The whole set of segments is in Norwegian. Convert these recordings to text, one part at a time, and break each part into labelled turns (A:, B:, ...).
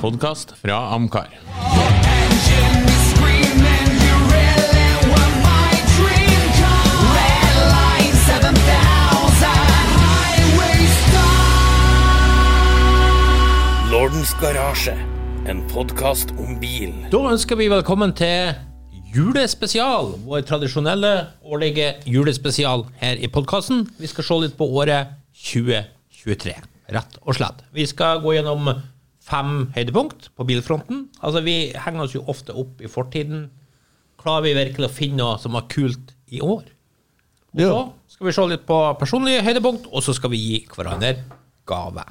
A: Podkast fra Amcar.
B: Lordens Garasje, en podkast om bil.
C: Da ønsker vi velkommen til julespesial, vår tradisjonelle årlige julespesial her i podkasten. Vi skal se litt på året 2023, rett og slett. Vi skal gå gjennom fem høydepunkt på bilfronten. Altså, vi henger oss jo ofte opp i fortiden. Klarer vi virkelig å finne noe som var kult i år? Og
D: Ja.
C: så skal vi se litt på personlige høydepunkt, og så skal vi gi hverandre gave.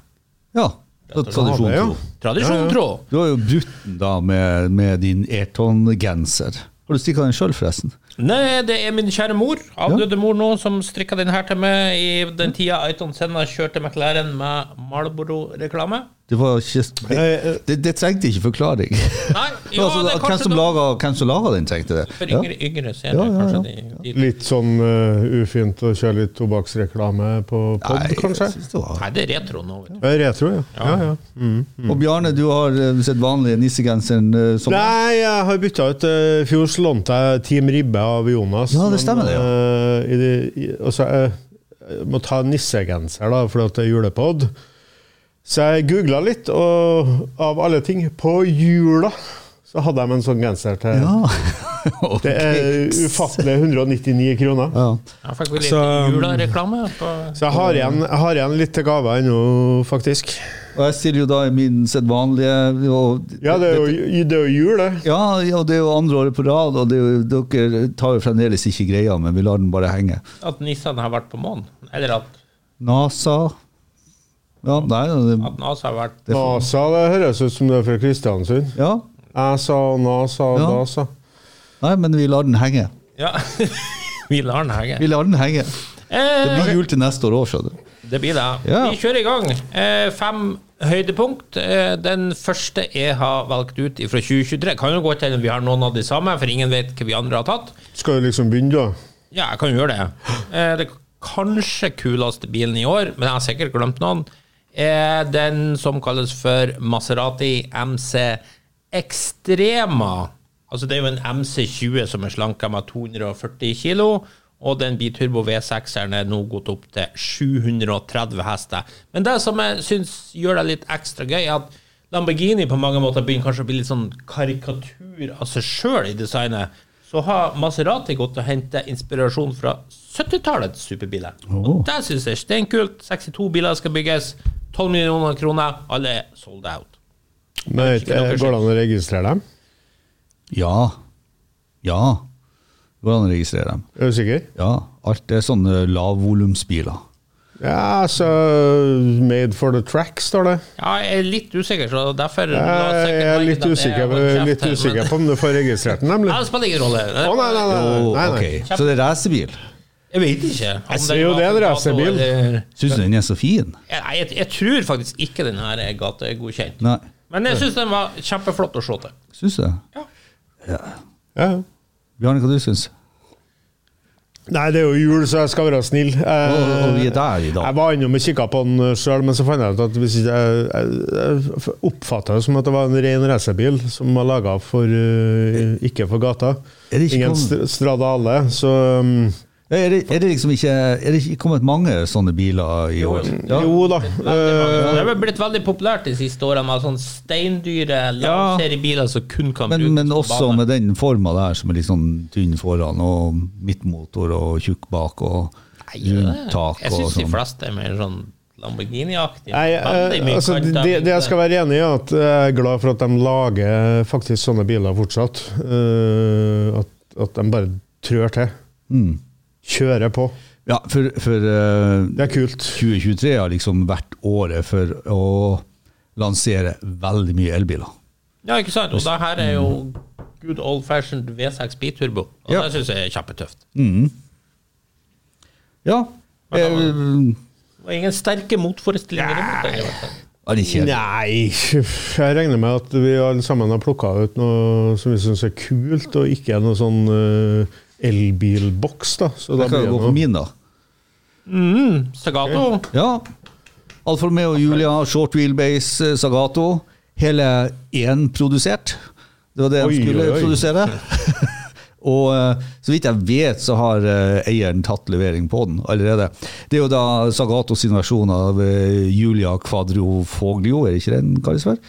D: Ja, det er tradisjon
E: Ja, det er
D: tro.
E: jo.
C: Tradisjonen tro.
D: Du har jo brutt den da med, med din Airton-genser. Har du strikka den sjøl, forresten?
C: Nei, det er min kjære mor, avdøde mor nå, som strikka den her til meg i den tida Aiton Senna kjørte McLaren med Marlboro-reklame.
D: Det, var ikke, det, det, det trengte ikke forklaring.
C: Nei, ja,
D: altså,
C: det er
D: hvem,
C: kanskje
D: som
C: noe
D: laga, hvem som laga den, trengte det?
C: for
D: Ja.
C: yngre, yngre
D: Ja,
C: senere,
D: ja, ja.
C: kanskje. De, de,
E: Litt sånn eh, ufint å kjøre litt tobakksreklame på pod,
D: Nei, jeg
E: kanskje?
D: synes det var-
C: nei, det er retro nå, vet du.
E: Eh, Retro, ja. ja, ja. Mm.
D: Og Bjarne, du har eh, sett vanlige nissegenseren eh, som
E: Nei, jeg har bytta ut. eh, I fjor så lånte jeg Team Ribbe av Jonas.
D: Ja, det stemmer det, ja.
E: eh, i det- i- og så eh, jeg må ta nissegenser, da, fordi at det er julepod. Så jeg googla litt, og av alle ting, på jula så hadde jeg med en sånn genser til
D: Ja.
E: Det er ufattelige 199 kroner.
D: ja.
C: Jeg fikk vel litt
E: Så-
C: julereklame. på-
E: Så jeg har igjen, jeg har igjen litt til gave ennå, faktisk.
D: Og jeg stiller jo da i min sedvanlige og
E: Ja, det er jo, det er jo jul, det.
D: Ja, ja, det er jo andre året på rad, og det er jo, dere tar jo fremdeles ikke greia, men vi lar den bare henge.
C: At Nissan har vært på månen. Eller at,
D: NASA Ja, nei, det,
C: at NASA har vært
D: det,
E: NASA, det høres ut som det er fra Kristiansund.
D: ja,
E: Jeg sa NASA og
D: Ja.
E: NASA.
D: nei, men vi lar den henge.
C: Ja, vi lar den henge.
D: Vi lar den henge. Det
C: Eh,
D: blir jul til neste år òg, skjønner du.
C: Det blir det.
D: Ja.
C: Vi kjører i gang. Eh, fem høydepunkt. Eh, den første jeg har valgt ut fra 2023, kan jo gå til vi har noen av de samme, for ingen vet hva vi andre har tatt.
E: Skal du liksom begynne, da?
C: Ja, jeg kan jo gjøre det. Eh, det kanskje kuleste bilen i år, men jeg har sikkert glemt noen, er den som kalles for Maserati MC Extrema. Altså, det er jo en MC20 som er slanka med 240 kilo, og den biturbo V6-eren er nå gått opp til 730 hester. Men det som jeg syns gjør det litt ekstra gøy, er at Lamborghini på mange måter begynner kanskje å bli litt sånn karikatur av seg sjøl i designet, så har Maserati gått og henta inspirasjon fra 70-tallets superbiler.
E: Oh.
C: Og det syns jeg er steinkult. 62 biler skal bygges. 12 millioner kroner. Alle er sold out.
E: Men jeg vet ikke,
C: Kanskje.
E: eh, Går det an å registrere dem?
D: Ja. Ja. Hvordan registrerer dem?
E: Er du sikker?
D: Ja. Alt er sånne lavvolumsbiler.
E: Ja, så Made for the track, står det.
C: Ja, jeg er litt usikker, så derfor
E: Jeg er litt usikker, litt usikker på om du får registrert den, nemlig.
C: Ja, det spiller ingen rolle.
E: Å, nei, nei, nei.
D: Oh,
E: nei, nei.
D: ok. Så det er racerbil.
C: Jeg vet ikke. om
E: Jeg
C: den
E: ser jo
C: var
E: det er en
C: dato,
E: racerbil.
C: eller-
D: Syns du den er så fin?
C: Jeg, jeg, jeg tror faktisk ikke den her er gategodkjent.
D: Nei.
C: Men jeg syns den var kjempeflott å se til.
D: Syns du?
E: Ja.
D: Bjarne, hva du syns
E: Nei, det er jo jul, så jeg skal være snill. Eh,
D: Og, og vi er der i
E: Jeg
D: dag.
E: var innom og kikka på den sjøl, men så fant jeg ut at hvis ikke jeg, jeg, jeg oppfatta det som at det var en ren racerbil som var laga for eh, ikke for gata.
D: Er det ikke
E: Ingen
D: kommet-
E: st stradale, så um,
D: Ja, Er det, er det liksom ikke Er det ikke kommet mange sånne biler i år? Ja.
E: Jo da. eh,
C: Det har blitt veldig populært de siste årene med sånn steindyre
D: Ja.
C: lavseriebiler som kun kan
D: Men,
C: brukes
D: men
C: på
D: også
C: bane.
D: med den forma der, som er litt sånn tynn foran, og midtmotor og tjukk bak, og rundt tak
C: Jeg
D: og
C: syns de
D: sånn.
C: fleste er mer sånn Lamborghini-aktige.
E: Nei,
C: Veldig
E: eh,
C: mye
E: altså,
C: kanter,
E: det, det jeg
C: vinter.
E: skal være enig i, er at jeg er glad for at de lager faktisk sånne biler fortsatt. Eh, at, at de bare trør til.
D: Mm.
E: Kjører på.
D: Ja, for, for eh,
E: Det er kult.
D: 2023 har liksom vært året for å lansere veldig mye elbiler.
C: Ja, ikke sant? Og det her er jo good old fashioned V6 biturbo. Og
D: Mm. Ja.
C: det syns jeg er kjempetøft.
D: Mm. Ja. Eh,
C: Og ingen sterke motforestillinger imot det. i hvert fall.
D: er det kjedelig?
E: Nei, jeg regner med at vi alle sammen har plukka ut noe som vi syns er kult, og ikke noe sånn eh, elbilboks, da. Så da
D: Jeg kan
E: blir
D: jo gå
E: det
D: for
E: noe.
D: min, da.
C: Sagato.
D: Ja. Alfa Romeo Julia, short wheelbase, eh, Sagato. hele én produsert. Det var det de
E: Oi,
D: skulle
E: oi, oi.
D: produsere. og eh, så vidt jeg vet, så har eh, eieren tatt levering på den allerede. Det er jo da Sagatos sin versjon av eh, Julia Quadrofoglio, er det ikke det den kalles for?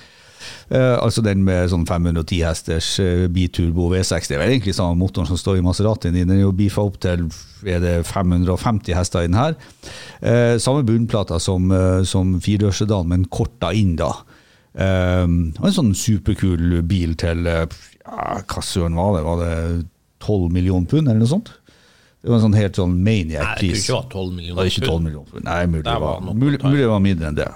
D: Eh, altså den med sånn 510 hesters eh, biturbo V6. Det er vel egentlig samme motoren som står i Maseratien din. Den er jo beefa opp til er det 550 hester i den her. Eh, samme bunnplata som, eh, som firedørssedan, men korta inn, da. Eh, og en sånn superkul bil til eh, ja, Hva søren var det? Var det 12 millioner pund, eller noe sånt? Det var en sånn helt sånn
C: Nei, jeg tror
D: maniac-pris.
C: ikke det var 12
D: Det var
C: millioner.
D: ikke 12 millioner pund. Nei, mulig det
C: Der var
D: var,
C: nok å
D: mulig,
C: ta i.
D: mulig det var mindre enn det.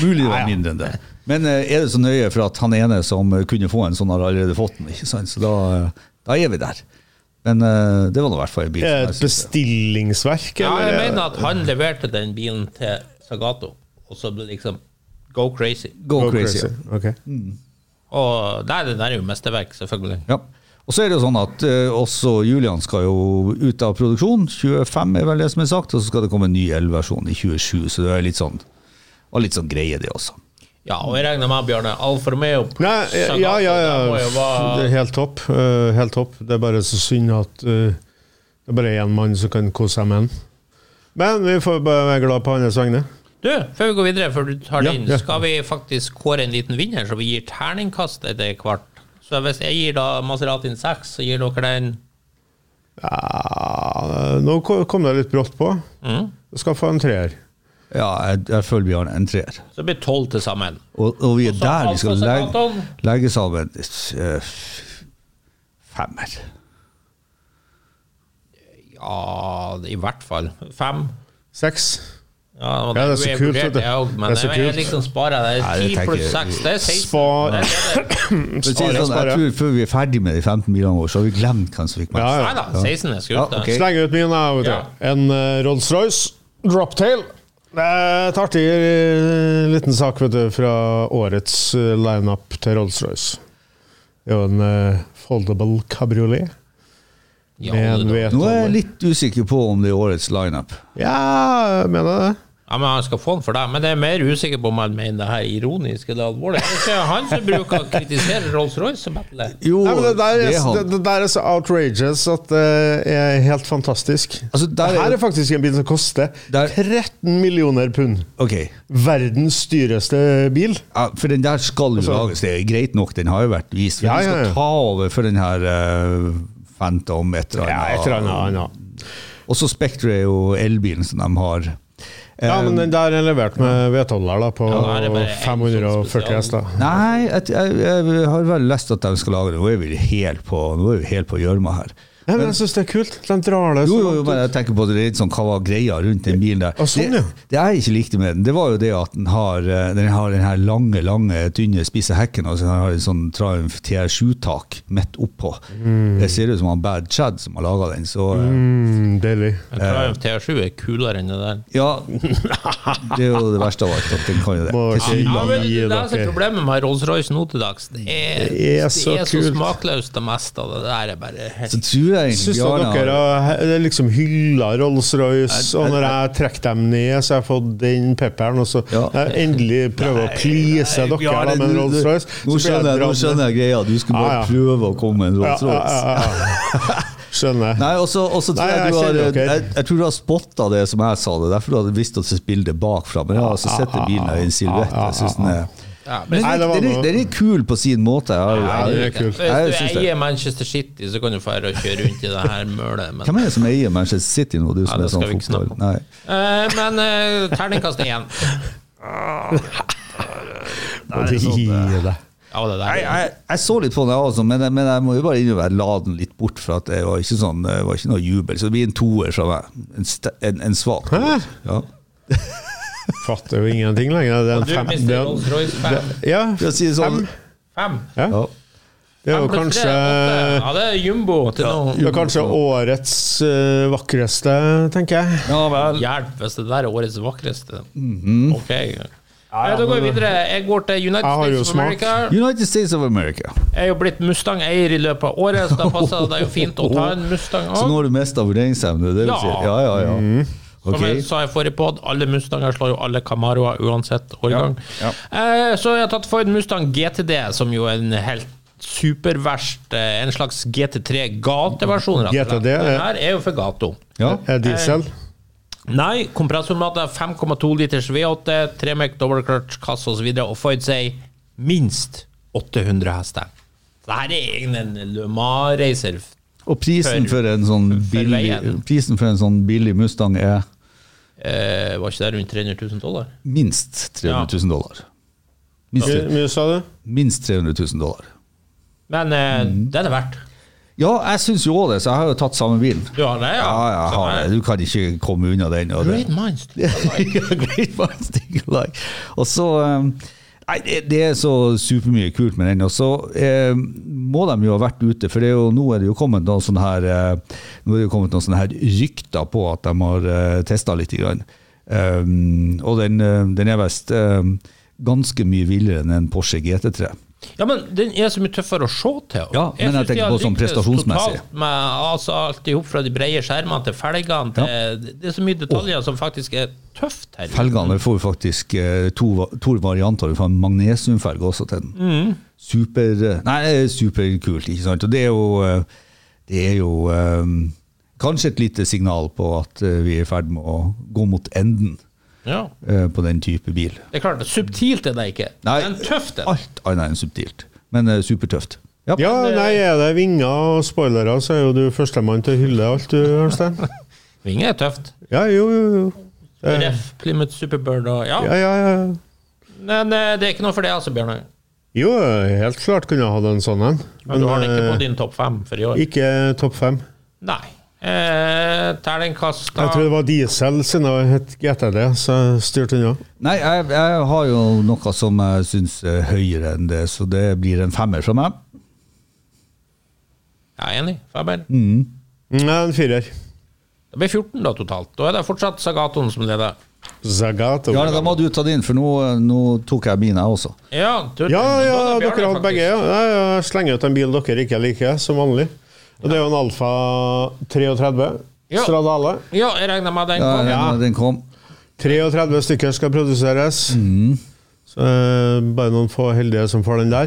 D: mulig det var mindre enn det. Men eh, er det så nøye for at han ene som eh, kunne få en sånn, har allerede fått den? ikke sant? Så da, eh, da er vi der. Men eh, det var nå i hvert fall en bil.
E: Er
D: som
E: det
D: jeg
E: et
D: synes-
E: bestillingsverk,
C: Ja, jeg
E: eller?
C: mener at han leverte den bilen til Sagato, og så ble det liksom go crazy.
D: Go, crazy.
E: Ok.
C: Og der, den er jo mesterverk, selvfølgelig.
D: Ja. Og så er det jo sånn at eh, også Julian skal jo ut av produksjon. 25 er vel det som er sagt, og så skal det komme en ny L-versjon i 27. Så det er litt sånn, og litt sånn greie, det også.
C: Ja, og jeg regner med, Bjørne, Alfa Romeo
E: Nei,
C: pluss
E: ja,
C: Sagato,
E: ja, ja.
C: det må jo være-
E: Det er helt topp. eh, helt topp. Det er bare så synd at eh, det er bare én mann som kan kose seg med den. Men vi får bare være glad på hans vegne.
C: Du, før vi går videre, før du tar det
E: Ja,
C: inn,
E: ja.
C: skal vi faktisk kåre en liten vinner, så vi gir terningkast etter hvert. Så hvis jeg gir da Maseratin 6, så gir dere den
E: Ja, nå ko- kom det litt brått på.
C: Mm.
E: Jeg skal få en treer.
D: Ja, jeg, jeg føler vi har en treer.
C: Så det blir 12 til sammen.
D: Og, og vi er
C: Og så
D: der vi skal
C: Alfa
D: legge,
C: Sagaton.
D: legge sammen eh, femmer.
C: Ja, i hvert fall. Fem.
E: Seks.
C: Ja,
E: Ja, det er så
C: jeg
E: kult,
C: vurderte
E: vet du.
C: jeg også, Men
E: Det er så
C: jeg, jeg
E: kult.
C: liksom sparer det.
D: Nei, det
C: 10
D: tenker
C: pluss
D: jeg-
C: 6, det er 16.
E: Spar
C: Det er det.
D: Men si det
E: Spare,
D: sånn,
E: spare.
D: jeg tror Før vi er ferdig med de 15 bilene våre, så har vi glemt hvem som fikk mest.
E: Ja, ja.
C: Nei da, 16 er skutt.
D: Ja,
C: det.
D: ok.
E: Sleng ut min, da. vet du.
C: Ja.
E: En eh, Rolls-Royce Droptail. Det er et artig eh, liten sak vet du, fra årets eh, lineup til Rolls-Royce. Det er jo en eh, foldable cabriolet.
C: Ja,
E: Med
C: det-
E: en
D: Nå er jeg
E: V12.
D: litt usikker på om det er årets lineup.
E: Ja, jeg mener det.
C: Ja, men Han skal få den for det, men jeg er mer usikker på om han mener det her ironisk eller alvorlig. Er Det er han som bruker å kritisere Rolls-Royce som battle.
D: Jo,
E: Nei, men det, der er,
D: det er
E: det,
D: han.
E: det der er så outrageous at det er helt fantastisk.
D: Altså, der er-
E: Her er faktisk en bil som koster
D: Der-
E: 13 millioner pund.
D: Ok,
E: Verdens dyreste bil.
D: ja, for den der skal jo lages. Det er greit nok, den har jo vært vist. Men
E: Altså- Ja,
D: vi
E: ja,
D: skal
E: ja.
D: ta over for den her eh, Phantom et eller
E: Ja, et eller annet. ja.
D: Og så Spectre er jo elbilen som de har.
E: Ja,
D: Eh,
E: men den der er levert med vedtoller da, på
C: Ja, det er bare en sånn
E: 540
C: spesial.
E: hester.
D: Nei, jeg, jeg, jeg har vel lest at de skal lage det. Nå er vi helt på Nå er vi helt på gjørma her.
E: Ja, men jeg syns det er kult. De drar det
D: Jo, jo,
E: langt
D: men
E: ut.
D: jeg tenker på det litt sånn, hva var greia rundt den bilen der.
E: Ah, sånn, ja.
D: det, det jeg ikke likte med den, det var jo det at den har eh, den, har den her lange, lange, tynne, spisse hekken, og så den har en sånn Triumph TR7-tak midt oppå. Det ser ut som han Bad Chad som har laga den. Så eh,
E: Mm, Deilig.
C: En Triumph TR7 er kulere enn det der.
D: ja, det er jo det verste av alt, at den kan jo det.
E: Må si-
C: Ja, men
E: Gi
C: det er
E: dere.
C: så problemet med Rolls-Royce nå til dags. Det er,
E: Det er så
C: det er så
E: kult.
C: smakløst, det meste av det der. er bare
D: Så tror jeg egentlig
E: Syns da
D: Bjarne har-
E: dere har he- liksom hylla Rolls-Royce, og når jeg trekker dem ned, så har jeg fått den pepperen, og så
D: Ja.
E: jeg endelig prøver å please dere
D: Ja,
E: da,
D: det-
E: med en Rolls-Royce. så
D: Nå
E: blir jeg
D: skjønner jeg, nå
E: dratt
D: skjønner jeg
E: med.
D: greia. Du skulle bare
E: Ja, ja.
D: prøve å komme med en
E: Ja, ja,
D: Rolls-Royce.
E: ja, ja. Skjønner.
D: Nei, og så og så tror
E: Nei,
D: jeg, du
E: jeg
D: har,
E: kjenner dere.
D: jeg, jeg tror du har spotta det som jeg sa det. Derfor du hadde visst å se bildet bakfra. Men jeg har altså sett den bilen her i en silhuett. Jeg synes den er
C: ja, men
D: den
E: Nei,
D: er,
E: det var
D: den er,
E: noe.
D: den er kul på sin måte. Jeg,
E: Ja,
D: jeg,
E: det er kult.
D: Jeg
C: Hvis
D: synes
C: du
D: det.
C: eier Manchester City, så kan du dra og kjøre rundt i det her mølet. Men,
D: hvem er det som eier Manchester City nå, du som
C: det
D: er sånn
C: skal vi ikke snakke om.
D: fotball? Nei.
C: Eh, men eh, terningkast igjen.
E: Nei, det er sånn, eh,
C: Ja, det der.
D: Jeg, jeg, jeg så litt på den, jeg også, men, men jeg må jo bare innrømme jeg la den litt bort, for at det var ikke, sånn, det var ikke noe jubel. Så det blir en toer fra meg. En, st- en, en svak toer. Ja.
E: Fatter jo ingenting lenger. Det er en
C: Du,
E: fem... det
C: Mr.
E: er en-
C: Rolls-Royce 5.
E: Ja,
D: For å si det sånn.
E: Fem.
C: Fem.
E: ja.
D: Ja.
E: Det er
C: Fem
E: jo
C: pluss tre,
E: kanskje
C: åtte. Ja, det er jumbo til
E: det
C: nå.
E: er kanskje årets eh, vakreste, tenker jeg.
D: ja vel.
C: Hjelp hvis det der er årets vakreste.
D: Mhm.
C: Ok. Eh, da går vi videre. Jeg går til United
E: Jeg har jo
C: States of
E: smak.
C: America.
D: United States of America.
C: Jeg er jo blitt Mustang-eier i løpet av året, så da passer det jo fint å ta en Mustang
D: Så nå
C: òg.
D: har du mista vurderingsevne? Det vil si.
C: Ja.
D: Ja, ja, ja.
C: Som
D: Ok.
C: jeg sa i forrige pod, alle Mustanger slår jo alle Camaroer uansett årgang.
D: Ja,
C: Eh, så jeg har tatt Ford Mustang GTD, som jo er en helt superverst eh, En slags GT3 gateversjon. rett og slett.
E: GTD, ja.
C: Den her er jo for gato.
D: Ja.
E: Er diesel?
C: Nei, kompressormatte 5,2 liters V8, 3 mek double clutch, kasse osv. Og, så videre, og Ford sier minst 800 hester. Så det her er egentlig en Le Mans-racer.
D: Og prisen for, en sånn billig,
C: veien.
D: prisen for en sånn billig Mustang er
C: Eh, var ikke det rundt 300 000 dollar?
D: minst 300 000 dollar. Minst,
C: Eh,
E: Mye, mye sa du?
D: minst 300 000 dollar.
C: Men eh,
D: Mm.
C: den er verdt.
D: Ja, jeg syns jo òg det, så jeg har jo tatt samme bilen.
C: Du har det, ja?
D: Ja, ja, jeg har det. Du kan ikke komme unna den. Og det.
C: Great minds.
D: Great minds think alike. Og så um, Nei, det, det er så supermye kult med den. Og så eh, må de jo ha vært ute, for det er jo, nå er det jo kommet noen sånne her eh, Nå er det jo kommet noen sånne her rykter på at de har eh, testa litt. Grann. Um, og den, eh, den er visst eh, ganske mye villere enn en Porsche GT3.
C: Ja, men den er så mye tøffere å se til.
D: Ja,
C: Jeg
D: men
C: synes
D: jeg
C: de
D: tenker
C: har
D: på sånn
C: lyktes
D: prestasjonsmessig.
C: totalt Med, altså, alt ihop fra de brede skjermene til felgene til Det er så mye detaljer som faktisk er tøft her.
D: Felgene får jo faktisk eh, to, va- to varianter. Du får en magnesiumfelge også til den. Super, eh, nei, superkult, ikke sant? Og det er jo, eh, det er jo eh, kanskje et lite signal på at eh, vi er i ferd med å gå mot enden
C: Ja.
D: eh, på den type bil.
C: Det er klart, subtilt er det ikke,
D: Nei,
C: men tøft er det.
D: Alt annet enn subtilt, men eh, supertøft. Ja.
E: Ja, nei, er det vinger og spoilere, så er jo du førstemann til å hylle alt, du, Arnstein.
C: Vinge er tøft.
E: Ja, jo, jo, jo. Eh,
C: Ref, Plymouth Superbird og ja.
E: Ja, ja, ja.
C: Men eh, det er ikke noe for det, altså, Bjørnar.
E: Jo, helt klart kunne jeg hatt en sånn en.
C: Men du har det ikke på
E: eh,
C: din topp fem for i år.
E: Ikke topp fem.
C: Nei. Eh, Terningkast
E: Jeg tror det var diesel siden det het GTD, så jeg styrte unna.
D: Nei, jeg, jeg har jo noe som jeg syns er høyere enn det, så det blir en femmer fra meg.
C: Jeg er enig. Faber.
E: Mm. Nei, en firer.
C: Det blir 14 da totalt. Da er det fortsatt Sagatoen som leder.
E: Zagato.
D: Ja, da må du ta din, for nå, eh, nå tok jeg min, jeg også.
C: Ja, tur-
E: Ja, ja,
C: da er det
E: dere har
C: Bjarne,
E: hatt begge. Ja. Ja, ja, jeg slenger ut en bil dere ikke liker, som vanlig. Og det er jo en Alfa 33.
C: Ja.
E: Stradale.
C: faktisk. Ja, jeg regner med den
D: Ja,
C: kom.
D: den, den kom.
E: 33 stykker skal produseres. Så eh, bare noen få heldige som får den der.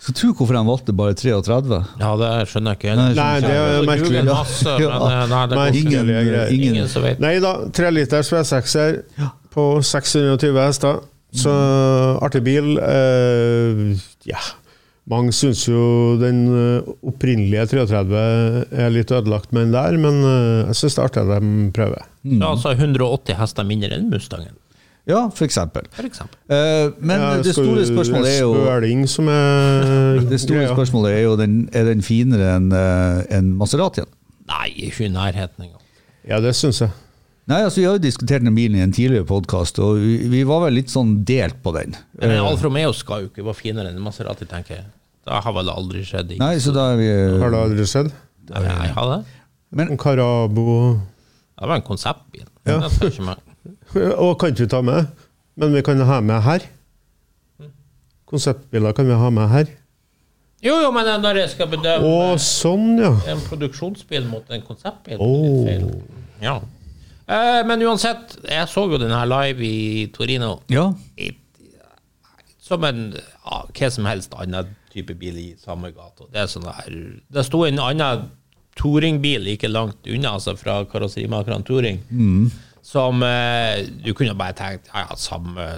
D: Skal tro hvorfor de valgte bare 33.
C: Ja, det skjønner jeg ikke.
D: Nei,
E: Nei, det er
C: Jeg
E: merkelig.
C: googler masse, men,
D: Ja.
C: eh, nei, det
E: Nei,
C: går ikke.
D: Ingen,
E: forskjellige greier.
D: ingen,
C: Ingen som vet.
E: Nei da, 3 liters V6-er på 620 hester. Så
C: Mhm.
E: artig bil. Eh, ja. Mange syns jo den eh, opprinnelige 33 er litt ødelagt med den der, men eh, jeg syns det er artig at de prøver.
C: Det er altså 180 hester mindre enn Mustangen,
D: Ja, for eksempel.
C: for eksempel.
D: Eh, men
E: Ja,
D: det
E: skal-
D: store spørsmålet er jo
E: Spøling som er
D: det store
E: greia.
D: spørsmålet er jo den, er den finere enn eh, enn Maseratien.
C: Nei, ikke i nærheten engang.
E: Ja, det syns jeg.
D: Nei, altså Vi har jo diskutert den bilen i en tidligere podkast, og vi, vi var vel litt sånn delt på den.
C: Men
E: Eh.
C: en Alfa Romeo skal jo ikke være finere enn en Maserati, tenker jeg. Det har vel aldri skjedd. i-
D: Nei, så da er vi
E: Har det aldri skjedd?
C: Nei, jeg har det.
E: En Karabo
C: Det var en konseptbil.
E: Ja.
C: Det tar ikke meg.
E: Og kan ikke vi ta med, men vi kan ha med her. Konseptbiler kan vi ha med her.
C: Jo, jo, men når jeg skal bedømme
E: Å, sånn, ja.
C: en produksjonsbil mot en konseptbil.
E: Åh.
C: Litt feil. Ja. Eh, men uansett, jeg så jo den her live i Torino.
D: Ja.
C: I- Som en ja, hva som helst annen type bil i samme gata. Det, er sånn her, det sto en annen touringbil ikke langt unna, altså fra karosserimakeren Touring, som eh, du kunne bare tenkt ja, ja, samme,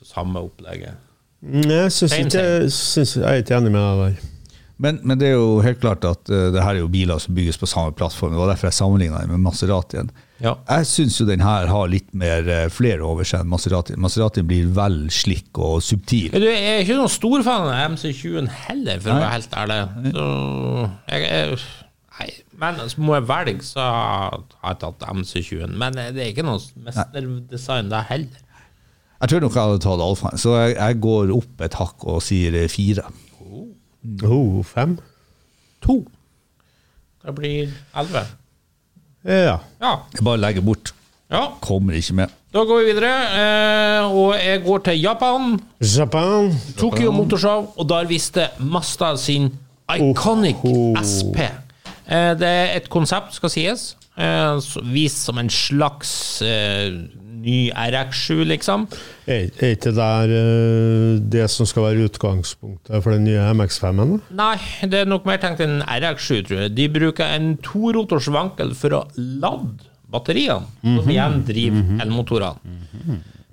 C: samme opplegget.
E: Nei, Mm, Jeg syns
C: Same,
E: ikke jeg, syns, jeg er ikke enig med deg der.
D: Men, men det er jo helt klart at eh, det her er jo biler som bygges på samme plattform. Det var derfor jeg sammenligna den med Maseratien.
C: Ja.
D: Jeg syns jo den her har litt mer eh, flere over seg enn Maseratien. Maseratien blir vel slik og subtil.
C: Men du jeg er ikke noen stor fan av MC20-en heller, for å være helt ærlig. Så, jeg, jeg, nei, men så må jeg velge, så har jeg tatt MC20-en. Men eh, det er ikke noe mesterdesign der heller.
D: Jeg tror nok jeg hadde tatt alfaen, så jeg, jeg går opp et hakk og sier eh, fire.
E: Oh, fem?
C: To. Det blir elleve.
E: Ja.
C: Ja.
D: Jeg bare legger bort.
C: ja.
D: Kommer ikke med.
C: Da går vi videre, eh, og jeg går til Japan.
E: Japan.
C: Tokyo Motorshow, og der viste Mazda sin Iconic
E: Oho.
C: SP. Eh, Det er et konsept, skal sies, eh, eh, så- vist som en slags eh, ny RX7, liksom.
E: Er er ikke det der eh, det som skal være utgangspunktet for den nye MX5-en? da?
C: Nei, det er nok mer tenkt en RX7, tror jeg. De bruker en torotors vankel for å lade batteriene, som igjen
E: Mhm.
C: driver elmotorene.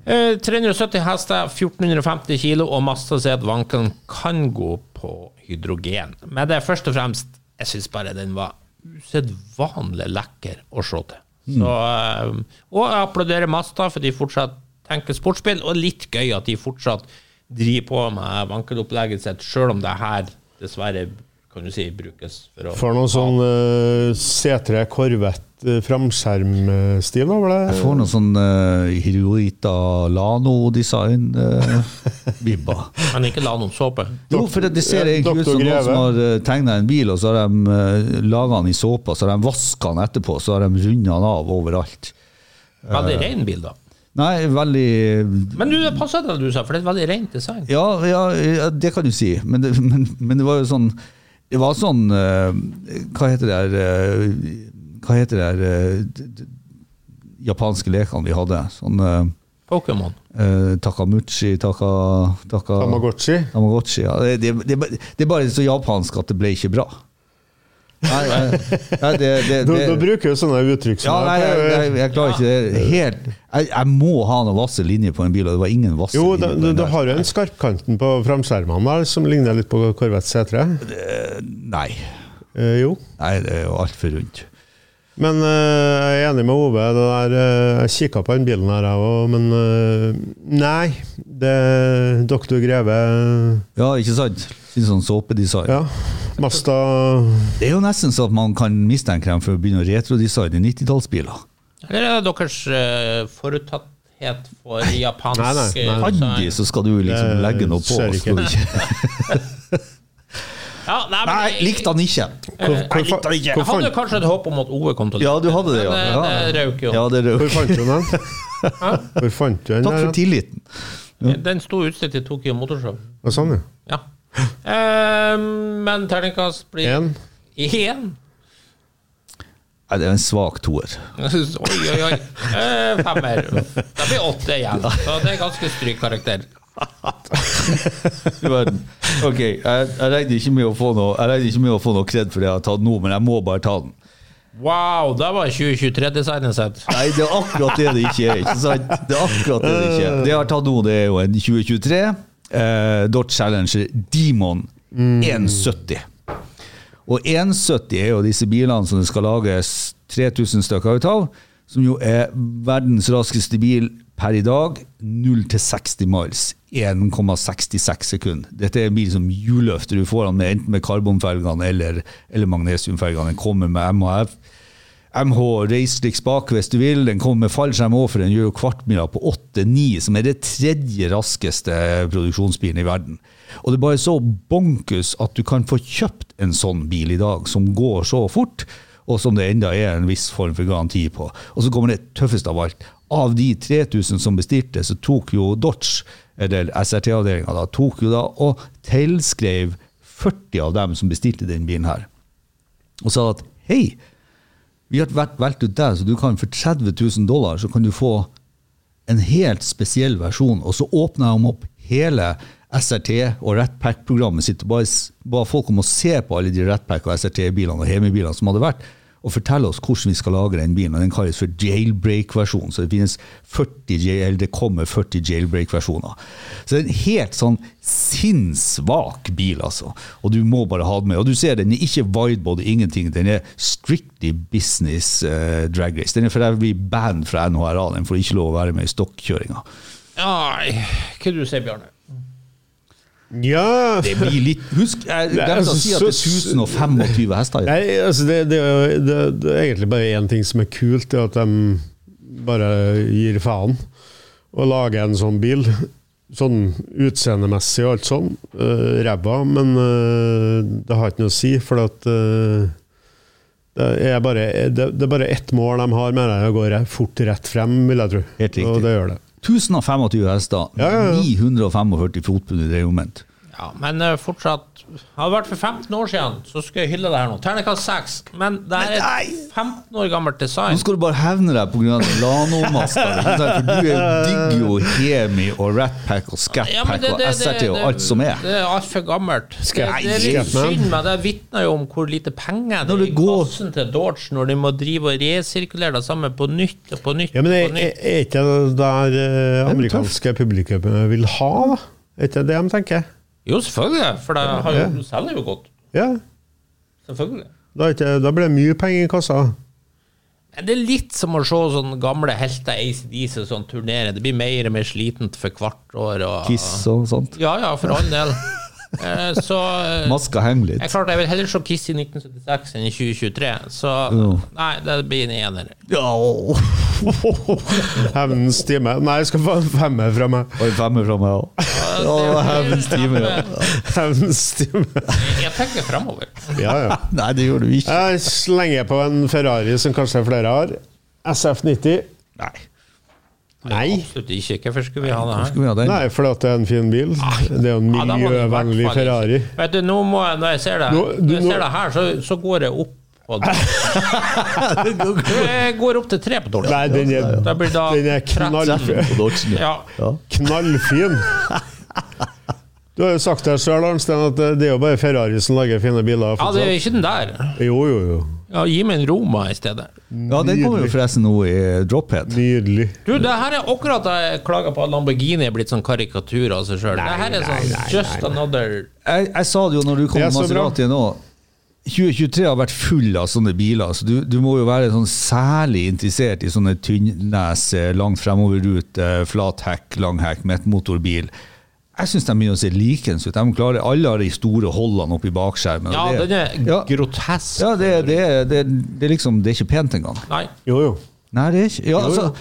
C: Eh, 370 hester, 1450 kilo, og Mazda sier at vankelen kan gå på hydrogen. Men det er først og fremst Jeg syns bare den var usedvanlig lekker å se til. Så, eh, og jeg applauderer Mazda, for de fortsatt tenker sportsbil, og litt gøy at de fortsatt driver på med vankelopplegget sitt, sjøl om det her dessverre kan du si brukes for å
E: For noe sånn eh, C3 Corvette uh, framskjermstil, var det?
D: Jeg får noen sånn uh, Hiroita Lano-design-vibber.
C: Men ikke la noen såpe.
D: jo, for det, det ser
E: Ja,
D: egentlig ut som
E: Dr.
D: noen
E: Greve.
D: som har tegna en bil, og så har de uh, laga den i såpa, så har de vaska den etterpå, så har de runda den av overalt.
C: Veldig ren bil, da.
D: Nei, veldig
C: Men du, det passer det du sa, for det er et veldig rent design.
D: Ja, ja, ja, det kan du si. Men det, men, men det var jo sånn Det var sånn eh, Hva heter det der eh, Hva heter det der eh, d- d- japanske lekene vi hadde? Sånn
C: Pokémon.
D: eh, eh, Takamuchi, taka, taka,
E: Tamagotchi?
D: Tamagotchi. Ja. Det, det, det, er bare- det er bare så japansk at det ble ikke bra. Nei, nei, nei det, det,
E: Du, du
D: det,
E: bruker jo sånne uttrykk som
D: ja, nei, jeg, jeg, jeg klarer ikke det helt. Jeg, jeg må ha noen vasse linjer på en bil, og det var ingen vasse
E: Jo,
D: linjer.
E: da-
D: på
E: du,
D: den
E: du
D: der.
E: har jo en skarpkanten på framskjermene der som ligner litt på Corvette C3.
D: Nei.
E: Eh, jo.
D: Nei, det er jo altfor rundt.
E: Men eh, jeg er enig med Ove. Det der, eh, jeg kikka på den bilen her, jeg òg, men eh, Nei. Det Dr. Greve
D: Ja, ikke sant? Litt sånn såpedesign.
E: Ja. Masta
D: Det er jo nesten så at man kan mistenke dem for å begynne å retrodesigne 90-tallsbiler.
C: Eller er det deres eh, foruttatthet for japansk
E: Nei, nei, nei.
C: eh, design?
D: Aldri så skal du liksom
E: Det
D: legge noe på.
E: skjer
D: skal du ikke.
C: Ja, nei, men,
D: Nei, likte han ikke!
E: Hvor, hvor,
C: Jeg,
E: fa-
C: jeg
E: hvor,
C: hadde
E: fant,
C: kanskje et håp om at Ove kom til å
D: Ja, du hadde det, ja.
C: Men, eh, det røk jo.
D: Ja, det
E: hvor
D: røk.
E: fant du den? Hvor fant du den?
D: Takk
E: der,
D: for tilliten.
C: Den sto utstilt i Tokyo Motorshow.
E: Ja, sånn, ja.
C: Ja. Eh, men terningkast blir
E: En.
C: Igjen?
D: Nei, det er en svak toer.
C: Oi, oi, oi. Eh, femmer. Det blir åtte igjen. Så det er ganske strykkarakter.
D: Du verden. Ok, jeg, jeg regner ikke med å få noe Jeg regner ikke med å få noe kred for det jeg har tatt nå, men jeg må bare ta den.
C: Wow, det var 2023-designet sitt.
D: Nei, det er akkurat det det ikke er. ikke sant? Det er akkurat det det ikke er. Det jeg har tatt nå, det er jo en 2023 eh, Dodge Challenger Demon 170. Og 170 er jo disse bilene som det skal lages 3000 stykker ut av, som jo er verdens raskeste bil per i dag. 0 til 60 miles. 1,66 sekunder. Dette er en bil som hjulløfter. Du får den med, enten med karbonfelgene eller, eller magnesiumfelgene. Den kommer med MHF. MH Racetrix bak hvis du vil. Den kommer med fallskjerm òg, for den gjør jo kvartmila på 8-9, som er det tredje raskeste produksjonsbilen i verden. Og det er bare så bonkus at du kan få kjøpt en sånn bil i dag, som går så fort, og som det enda er en viss form for garanti på. Og så kommer det tøffeste av alt. Av de 3000 som bestilte, så tok jo Dodge, eller SRT-avdelinga, da, tok jo da og tilskrev 40 av dem som bestilte den bilen her, og sa at hei, vi har vært valgt ut deg, så du kan for 30 000 dollar så kan du få en helt spesiell versjon, og så åpner de opp hele SRT og Ratpack-programmet sitt, og bare s- ba folk om å se på alle de Ratpack- og SRT-bilene og Hemi-bilene som hadde vært, og fortelle oss hvordan vi skal lage den bilen. og Den kalles for jailbreak-versjonen, så det finnes 40 jail, eller det kommer 40 jailbreak-versjoner. Så det er en helt sånn sinnssvak bil, altså. Og du må bare ha den med. Og du ser, den er ikke widebody, ingenting. Den er strictly business eh, drag race. Den er for øvrig banned fra NHRA, den får ikke lov å være med i stokkjøringa.
C: Ai, hva du sier Bjarne?
E: Ja,
D: Det blir litt Husk, jeg
E: Nei,
D: glemte å
E: altså,
D: si at det
E: så-
D: er 1025 hester.
E: Nei, altså det, det, er jo- det, det er egentlig bare én ting som er kult, det er at de bare gir faen og lager en sånn bil. Sånn utseendemessig og alt sånn. eh, Ræva, men eh, det har ikke noe å si, for at eh, det er, bare, det, det er bare ett mål de har med det, å gå re- fort rett frem, vil jeg tro.
D: Helt riktig.
E: Og det gjør det.
D: 1025 hester,
E: Ja, ja, ja.
D: 945 fotpund i det moment.
C: Ja, men eh, fortsatt Hadde det vært for 15 år siden, så skulle jeg hylle det her nå. Terningkast 6. Men det her er et 15 år gammelt
D: Nå
C: design.
D: skal du bare hevne deg pga. Lano-maska. ikke sant? For du er jo digger jo Hemi og Ratpack
C: Ja,
D: og
C: men
D: Scatpack
C: det-
D: og
C: det- det-
D: SRT og
C: det-
D: alt som er.
C: Det er altfor gammelt. Det,
E: Skal
C: det er
E: jeg-
C: litt synd, men det vitner jo om hvor lite penger det
D: Når
C: er
D: det
C: i
D: går-
C: kassen til Dodge når de må drive og resirkulere det samme på nytt og på nytt.
E: Ja, men
C: på
E: er,
C: nytt.
E: er ikke det der eh, amerikanske publikummet vil ha, da? Er ikke det de tenker?
C: Jo, selvfølgelig, for det har jo,
E: Ja.
C: de selger jo godt.
E: Ja.
C: Selvfølgelig.
E: Da, er ikke, da blir det mye penger i kassa.
C: Men Det er litt som å se sånne gamle helter ACDC som turnerer. sånn Det blir mer og mer slitent for hvert år. Og,
D: Kiss og sånt.
C: Ja, ja, for all del. Eh, Så eh,
D: Maska henger
C: jeg,
D: litt.
C: klart, jeg vil heller se Kiss i 1976 enn i 2023, så
D: Jo.
C: nei, det blir en ener.
D: Ja, åh.
E: Hevnens time. Nei, jeg skal få en femmer fra meg.
D: Og en femmer fra meg òg. Å, hevens time, ja.
E: Hevnens time.
C: Jeg tenker fremover.
E: Ja, ja.
D: Nei, det gjør du ikke.
E: Jeg slenger på en Ferrari som kanskje flere har. SF90.
D: Nei.
E: Nei.
C: Absolutt ikke. Hvorfor skulle vi ha det her?
D: Skal vi ha den?
E: Nei, fordi at det er en fin bil. Det er jo en
C: Ja, da må det i hvert fall
E: miljøvennlig
C: ikke.
E: Ferrari.
C: Vet du, nå må jeg, Når jeg ser det,
E: Nå- du
C: når jeg
E: må-
C: ser det her, så, så går jeg opp på det. Jeg går opp til tre på dårlig.
E: Nei, den er,
C: Det blir da
E: den er
C: 13.
E: knallfin.
D: På Dodgen, ja.
C: Ja.
D: Ja.
E: knallfin. Du har jo sagt det sjøl, Arnstein, at det det er jo bare Ferrari som lager fine biler.
C: ja, det er jo
E: fortsatt.
C: ikke den der.
E: Jo, jo, jo.
C: Ja, gi meg en Roma i stedet.
D: ja, den kommer jo forresten nå i Drophead.
E: Nydelig.
C: Du, det her er akkurat da jeg klager på at Lamborghini er blitt sånn karikatur av seg sjøl. Det her er sånn just another
D: Jeg, jeg sa det jo når du kom
E: Det er
D: med
E: så bra.
D: Maserati nå. 2023 har vært full av sånne biler, så du, du må jo være sånn særlig interessert i sånne tynnnes, eh, langt fremoverrute, flat hekk, lang hekk, midtmotorbil. Jeg syns de begynner å se likens ut. De klarer, alle har de store holdene oppi bakskjermen. og
C: Ja,
D: det-
C: den er
D: ja,
C: grotesk.
D: ja det, det, det, det er liksom Det er ikke pent engang.
C: Nei.
E: Jo, jo.
D: Nei, det er ikke ja, altså,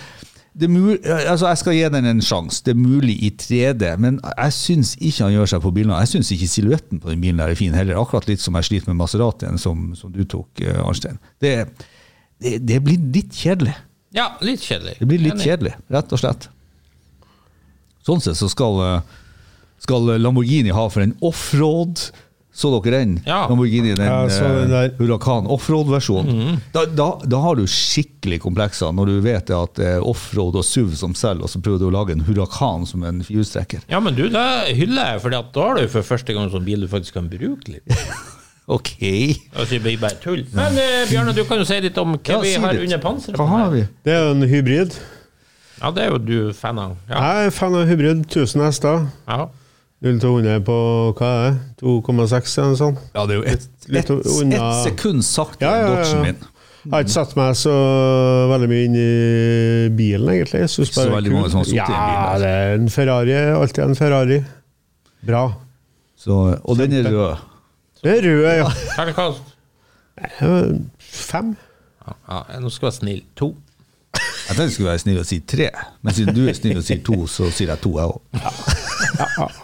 D: det er mul altså, Jeg skal gi den en sjanse. Det er mulig i 3D, men jeg syns ikke han gjør seg på bilene. Jeg syns ikke silhuetten på den bilen der er fin heller. Akkurat litt som jeg sliter med Maseratien, som, som du tok, eh, Arnstein. Det, det, det blir litt kjedelig.
C: Ja, litt kjedelig.
D: Det blir litt
C: Enig.
D: kjedelig, rett og slett. Sånn sett så skal, eh, skal Lamborghini ha for en offroad. Så dere den?
C: Ja.
D: Lamborghini, den,
E: Ja, jeg så den
D: eh,
E: der.
D: Huracan offroad-versjonen.
C: Mhm.
D: Da, da, da har du skikkelig komplekser, når du vet at det er offroad og SUV som selger, og så prøver du å lage en Huracan som en firehjulstrekker.
C: Ja, men du, det hyller jeg, for da har du for første gang sånn bil du faktisk kan bruke litt.
D: Ok.
C: Altså, det blir bare tull. Men eh, Bjarne, du kan jo si litt om hva
D: Ja,
C: vi
D: si
C: har
D: litt.
C: under panseret.
D: Hva
C: på
D: har
C: den her.
D: vi?
E: Det er jo en hybrid.
C: Ja, det er jo du fan av. Ja.
E: Jeg er fan av hybrid. 1000 hester.
C: ja.
E: 0 til 100 på hva er det? 2,6 eller noe sånt?
D: Ja, det er jo ett
E: Litt
D: et,
E: unna-
D: sekund saktere
E: Ja,
D: enn
E: ja, ja.
D: Dodgen min.
E: Jeg har ikke satt meg så veldig mye inn i bilen, egentlig. Jeg synes
D: Ikke så
E: bare det er
D: veldig
E: kult.
D: mange som har sittet i en bil,
E: Ja,
D: altså.
E: det er en Ferrari. Alltid en Ferrari. Bra.
D: Så, og den er rød.
E: Det er rød, ja.
C: Terningkast.
E: Fem?
C: Ja, ja, nå skal jeg være snill. To.
D: Jeg tenkte jeg skulle være snill og si tre, men siden du er snill og sier to, så sier jeg to, jeg òg.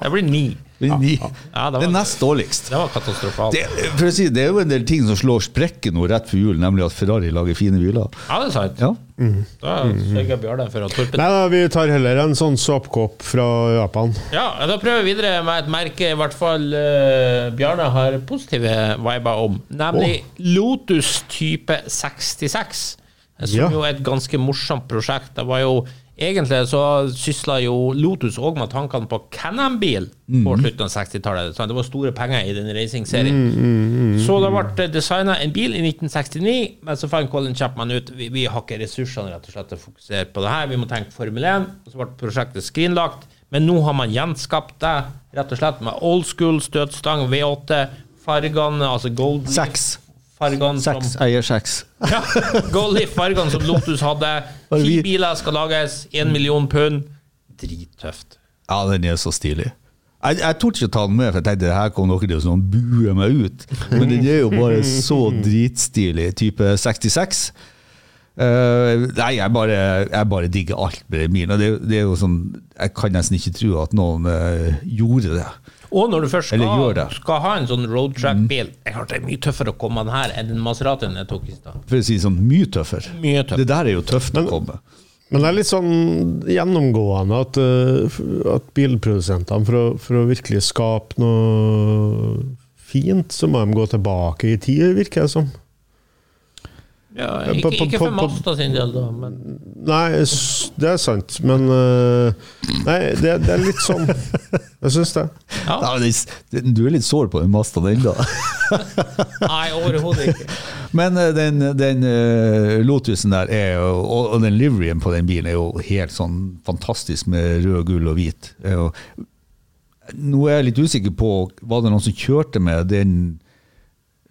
C: Det blir ni.
D: Den ni.
C: Ja, det var-
D: Den nest dårligst.
C: Det var katastrofalt.
D: Det, for å si, det er jo en del ting som slår sprekken nå rett før jul, nemlig at Ferrari lager fine biler.
C: Ja, det er sant.
D: Ja.
C: Da sørger Bjarne for at Torpen
E: Nei da, vi tar heller en sånn soppkopp fra Japan.
C: Ja, da prøver vi videre med et merke i hvert fall eh, Bjarne har positive viber om, nemlig Lotus type 66. Som
E: Ja.
C: jo er et ganske morsomt prosjekt. Det var jo Egentlig så sysla jo Lotus òg med tankene på Canam-bil på slutten av 60-tallet. sant? Det var store penger i den racing-serien. Så det ble designa en bil i 1969, men så fant Colin Chapman ut vi, vi har ikke ressursene rett og slett til å fokusere på det her, vi må tenke Formel 1. Og så ble prosjektet skrinlagt, men nå har man gjenskapt det rett og slett med old school støtstang, V8, fargene, altså gold
D: Seks.
C: fargene som
D: Seks. Jeg gir seks.
C: ja, gold leaf fargene som Lotus hadde.
D: Bare
C: Ti
D: vi-
C: biler skal lages, én million pund. Drittøft.
D: Ja, den er så stilig. Jeg, jeg torde ikke å ta den med, for jeg tenkte her kom dere til å sånn bue meg ut. Men den er jo bare så dritstilig. Type 66. Eh, nei, jeg bare, jeg bare digger alt med den bilen. Og det, er jo- det er jo sånn, jeg kan nesten ikke tro at noen eh, gjorde det.
C: Og når du først
D: Eller
C: skal,
D: gjør det.
C: skal ha en sånn roadtrack-bil Det er klart det er mye tøffere å komme den her enn den Maseratien jeg tok i stad.
D: For å si det sånn, mye tøffere.
C: Mye tøffere.
D: Det der er jo tøft å komme.
E: Men det er litt sånn gjennomgående at, eh, f- at bilprodusentene, for å, for å virkelig skape noe fint, så må de gå tilbake i tid, virker det som.
C: Ja,
E: Ja,
C: ikke,
E: på- på-
C: ikke for
E: på-
C: Mazda sin del, da, men
E: Nei, s- det er sant, men eh, Nei, det, det er litt sånn Jeg syns det.
C: ja.
D: Ja, men det- Du er litt sår på den Mazdaen ennå.
C: Nei, overhodet ikke.
D: Men eh, den, den eh, Lotusen der er jo, og, og den liveryen på den bilen er jo helt sånn fantastisk med rød, gull og hvit. Er jo- Nå er jeg litt usikker på, var det noen som kjørte med den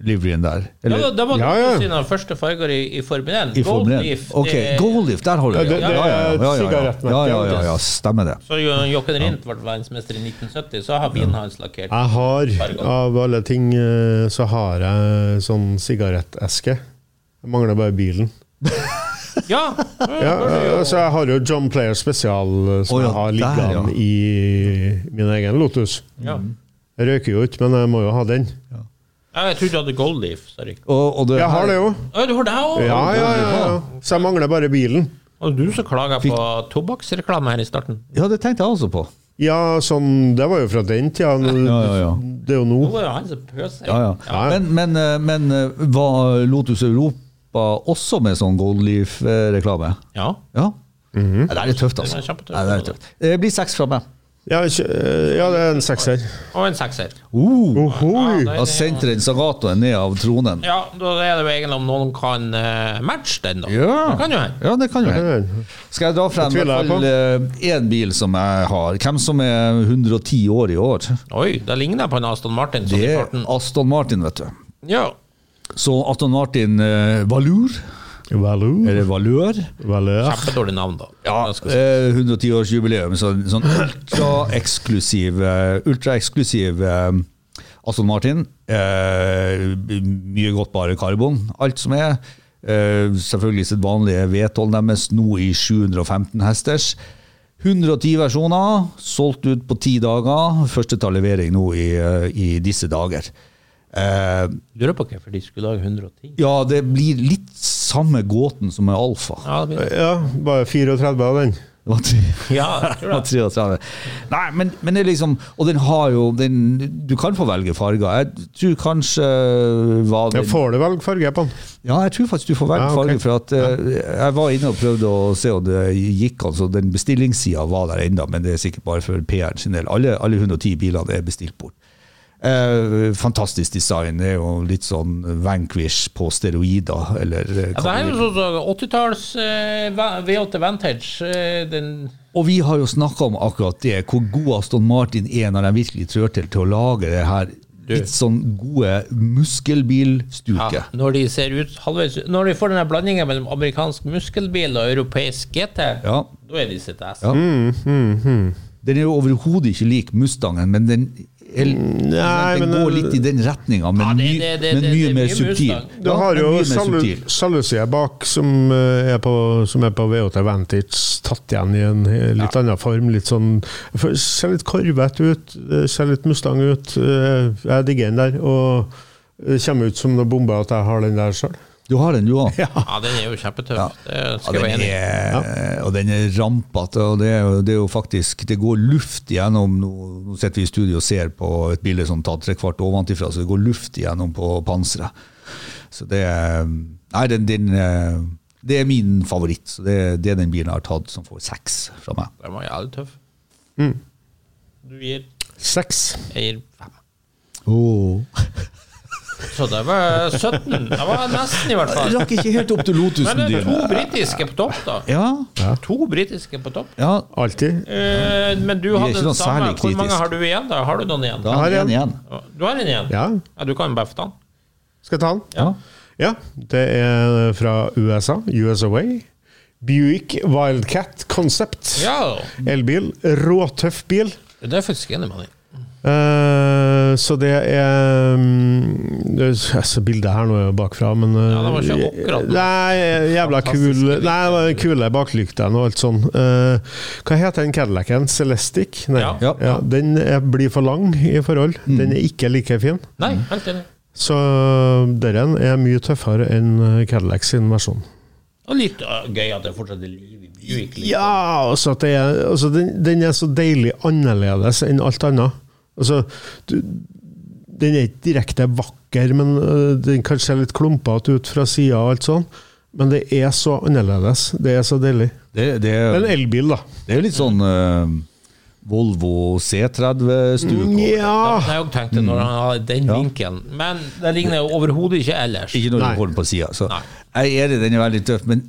D: liveryen der?
C: Ja,
D: Eller,
C: da- da var det
E: Ja, ja.
C: sine første farger i, i Formel 1.
D: i Formel 1?
C: Goldleaf,
D: Ok,
C: det-
D: Goldleaf, der holder
E: Ja,
D: vi.
E: det- det er et sigarettmerke,
D: ja, ja, ja, ja, stemmer det.
C: Så jo- Jochen Rindt ble verdensmester i 1970, så har bilen hans lakkert.
E: Jeg har, av alle ting, eh, så har jeg sånn sigaretteske. Jeg mangler bare bilen.
C: Ja!
E: Ja, eh, så jeg har jo John Player spesial eh, som
D: Å, ja,
E: jeg har
D: der, ja.
E: liggende i min egen Lotus.
C: ja.
E: Jeg røyker jo ikke, men jeg må jo ha den.
C: Ja, Jeg trodde du hadde Goldleaf. Sorry.
D: Og, og det
E: Jeg har
D: her-
E: det jo.
C: Å, du har det òg?
E: Ja, ja, ja, ja. Så jeg mangler bare bilen.
C: Og du som klaga på tobakksreklame her i starten.
D: Ja, det tenkte jeg også på.
E: Ja, sånn Det var jo fra den tida.
D: Ja, ja, ja.
E: Det er jo nå.
C: Nå er det han som pøser.
D: Ja, ja.
E: Ja.
D: Men, men, eh, men eh, var Lotus Europa også med sånn Goldleaf-reklame?
C: Ja.
D: Ja. ja. Det er litt tøft, altså.
C: Det er kjempetøft.
D: Nei, det er litt tøft. Det blir seks fra meg.
E: Ja, ikke- eh, ja, det er en sekser.
C: Og en sekser.
D: Uh,
E: Ohoi!
D: da sendte den Sagatoen ned av tronen.
C: Ja, da er det jo egentlig om noen kan eh, matche den, da.
D: Ja.
C: Det kan jo hende.
D: Ja, det kan jo hende. Skal jeg dra frem i
E: Det tviler
D: hvert
E: jeg
D: fall eh, én bil som jeg har? Hvem som er 110 år i år?
C: Oi, da ligner jeg på en Aston Martin. Sånn
D: Det
C: i
D: er
C: farten.
D: Aston Martin, vet du.
C: Ja.
D: Så Aston Martin eh, Valur,
E: Valor.
D: eller Valør,
E: Valor.
C: Kjempedårlig navn, da.
D: Ja,
C: Jeg skal si.
D: eh, 110-årsjubileum. Så, sånn ultraeksklusiv eh, ultraeksklusiv eh, Aston Martin. Eh, mye godt bare karbon, alt som er. Eh, selvfølgelig sitt vanlige V12 deres, nå i 715 hesters. 110 versjoner, solgt ut på ti dager. Første tar levering nå i, eh, i disse dager. Eh,
C: Lurer på hvorfor de skulle lage 110.
D: ja, det blir litt samme gåten som med Alfa.
C: Ja, det blir...
E: Ja, bare 34 av den.
D: Det var tre-
C: ja jeg tror
D: Ja,
C: det.
D: 33. Nei, men, men det er liksom Og den har jo den, Du kan få velge farger. Jeg tror kanskje eh, var
E: Ja,
D: den,
E: får du velge farge på den?
D: Ja, jeg tror faktisk du får velge
E: Ja, ok.
D: farger. For at eh, jeg var inne og prøvde å se om det gikk an. Så den bestillingssida var der ennå, men det er sikkert bare for PR-en sin del. Alle, alle 110 bilene er bestilt bort. Eh, fantastisk design. Det er jo litt sånn Vanquish på steroider, eller eh,
C: Ja,
D: hva
C: det er
D: du vil.
C: jo sånn som 80-talls eh, va- V8 Vantage. Eh, den
D: Og vi har jo snakka om akkurat det, hvor god Aston Martin er når de virkelig trør til til å lage det her litt sånn gode muskelbilstuket.
C: ja, Når de ser ut halvveis Når de får den blandinga mellom amerikansk muskelbil og europeisk GT,
D: Ja.
C: da er de sitt ass.
D: Ja. Den er jo overhodet ikke lik Mustangen, men den, er,
E: nei,
D: den
E: men- eh,
D: går litt i den retninga, men,
C: Ja, det-
D: my-
C: det- det-
D: men
C: det-
D: mye
C: det er
D: mer
C: mye
D: subtil.
C: Mustang.
E: Du
D: Ja,
E: har
D: men
E: jo
D: mye mer subtil.
E: sjalusien bak, som eh, er på, som er på V8 Vantage, tatt igjen i en eh, litt annen form. Litt sånn for- Ser litt korvete ut, eh, ser litt Mustang ut. eh, Jeg digger den der. Og det kommer ut som noe bombe at jeg har den der sjøl.
D: Du har den, du òg. Ja.
C: Ja, den er jo kjempetøff. Det skal jeg være
D: den
C: enig i.
D: er, og den er rampete, og det er, jo, det er jo faktisk Det går luft gjennom Nå, nå sitter vi i studio og ser på et bilde som tatt trekvart ovenfra, så det går luft gjennom på panseret. Så det er Nei, den, den eh, Det er min favoritt. Så det, er- det er den bilen jeg har tatt som får seks fra meg.
C: Den var jævlig tøff.
D: Mm.
C: Du gir
E: Seks.
C: Jeg gir fem.
D: Oh.
C: Så det var 17. Det var nesten, i hvert fall.
D: Rakk ikke helt opp til Lotusen
C: Men det er
D: din.
C: to britiske på topp, da.
D: Ja,
C: To britiske på topp.
D: ja,
E: Alltid.
C: Eh, men du
D: er
C: hadde
D: ikke
C: den
D: noe
C: samme.
D: særlig
C: Hvor mange
D: kritisk.
C: har du igjen? da? Har du noen igjen?
D: da har
E: Jeg har
D: jeg en igjen.
C: Du har en igjen?
E: Ja,
C: Ja, du kan jo bare få den.
E: skal jeg ta den?
D: Ja.
E: Ja, det er fra USA. US Away. Buick Wildcat Concept.
C: Ja,
E: Elbil. Råtøff bil.
C: det er jeg faktisk enig med deg.
E: Eh, så det er mm, det, er- altså Bildet her nå er jo bakfra, men eh,
C: Ja, det var ikke akkurat noe.
E: Nei, jævla
C: Fantastiske
E: kul Nei, det var kule baklyktene og alt sånn. Eh, hva heter den Cadillacen? Celestic? Nei.
C: Ja.
D: Ja.
E: den er, blir for lang i forhold. Den er ikke like fin.
C: Nei,
D: Mm.
C: helt enig.
E: Så den er mye tøffere enn eh, Cadillac sin versjon.
C: Og litt øh, gøy uh, at det fortsatt er liv i Du gikk litt
E: Ja, altså, at det er, altså den, den er så deilig annerledes enn alt annet. Altså, du, den er ikke direkte vakker, men øh, den kan se litt klumpete ut fra sida og alt sånn. Men det er så annerledes. Det er så deilig.
D: Det, det,
E: En
D: er-
E: elbil, da.
D: det er jo litt sånn eh, Volvo C30-stuk.
C: Da
E: Nja
C: hadde jeg òg tenkt det, når
D: Mm.
C: han hadde den vinkelen. Men det ligner jo overhodet ikke ellers.
D: Ikke når
E: Nei.
D: du får den på sida. Så
C: Nei.
D: jeg er enig, den er veldig tøff, men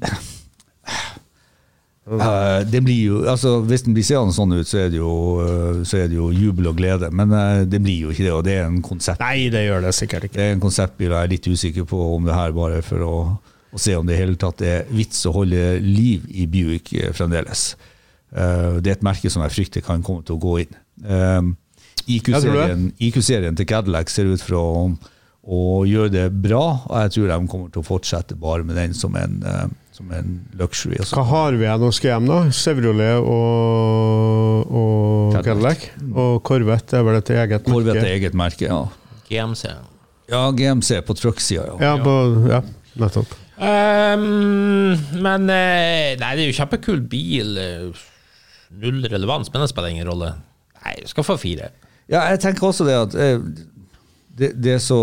D: Eh, det blir jo, altså Hvis den blir seende sånn ut, så er det jo, eh, så er det jo jubel og glede. Men eh, det blir jo ikke det, og det er en konsept.
E: Nei, det gjør det sikkert ikke.
D: Det er en konseptbil, og jeg er litt usikker på om det her bare er for å, å se om det i hele tatt er vits å holde liv i Buick eh, fremdeles. Eh, det er et merke som jeg frykter kan komme til å gå inn. Eh, IQ-serien IQ-serien til Cadillac ser ut for å, å gjøre det bra, og jeg tror de kommer til å fortsette bare med den som en, eh, som en luxury. altså.
E: Hva har vi igjen å skrive hjem, da? Chevrolet og, og
D: Cadillac.
E: Cadillac. Og Corvette er vel et eget
D: Corvette
E: merke?
D: er eget merke, ja.
C: GMC.
D: Ja, GMC på trucksida, ja.
E: Ja, på, ja, nettopp.
C: Ehm, men eh, Nei, det er jo kjempekul bil. eh, Null relevans, men det spiller ingen rolle. Nei, jeg skal få fire.
D: Ja, jeg tenker også det at eh, det, det, er, så,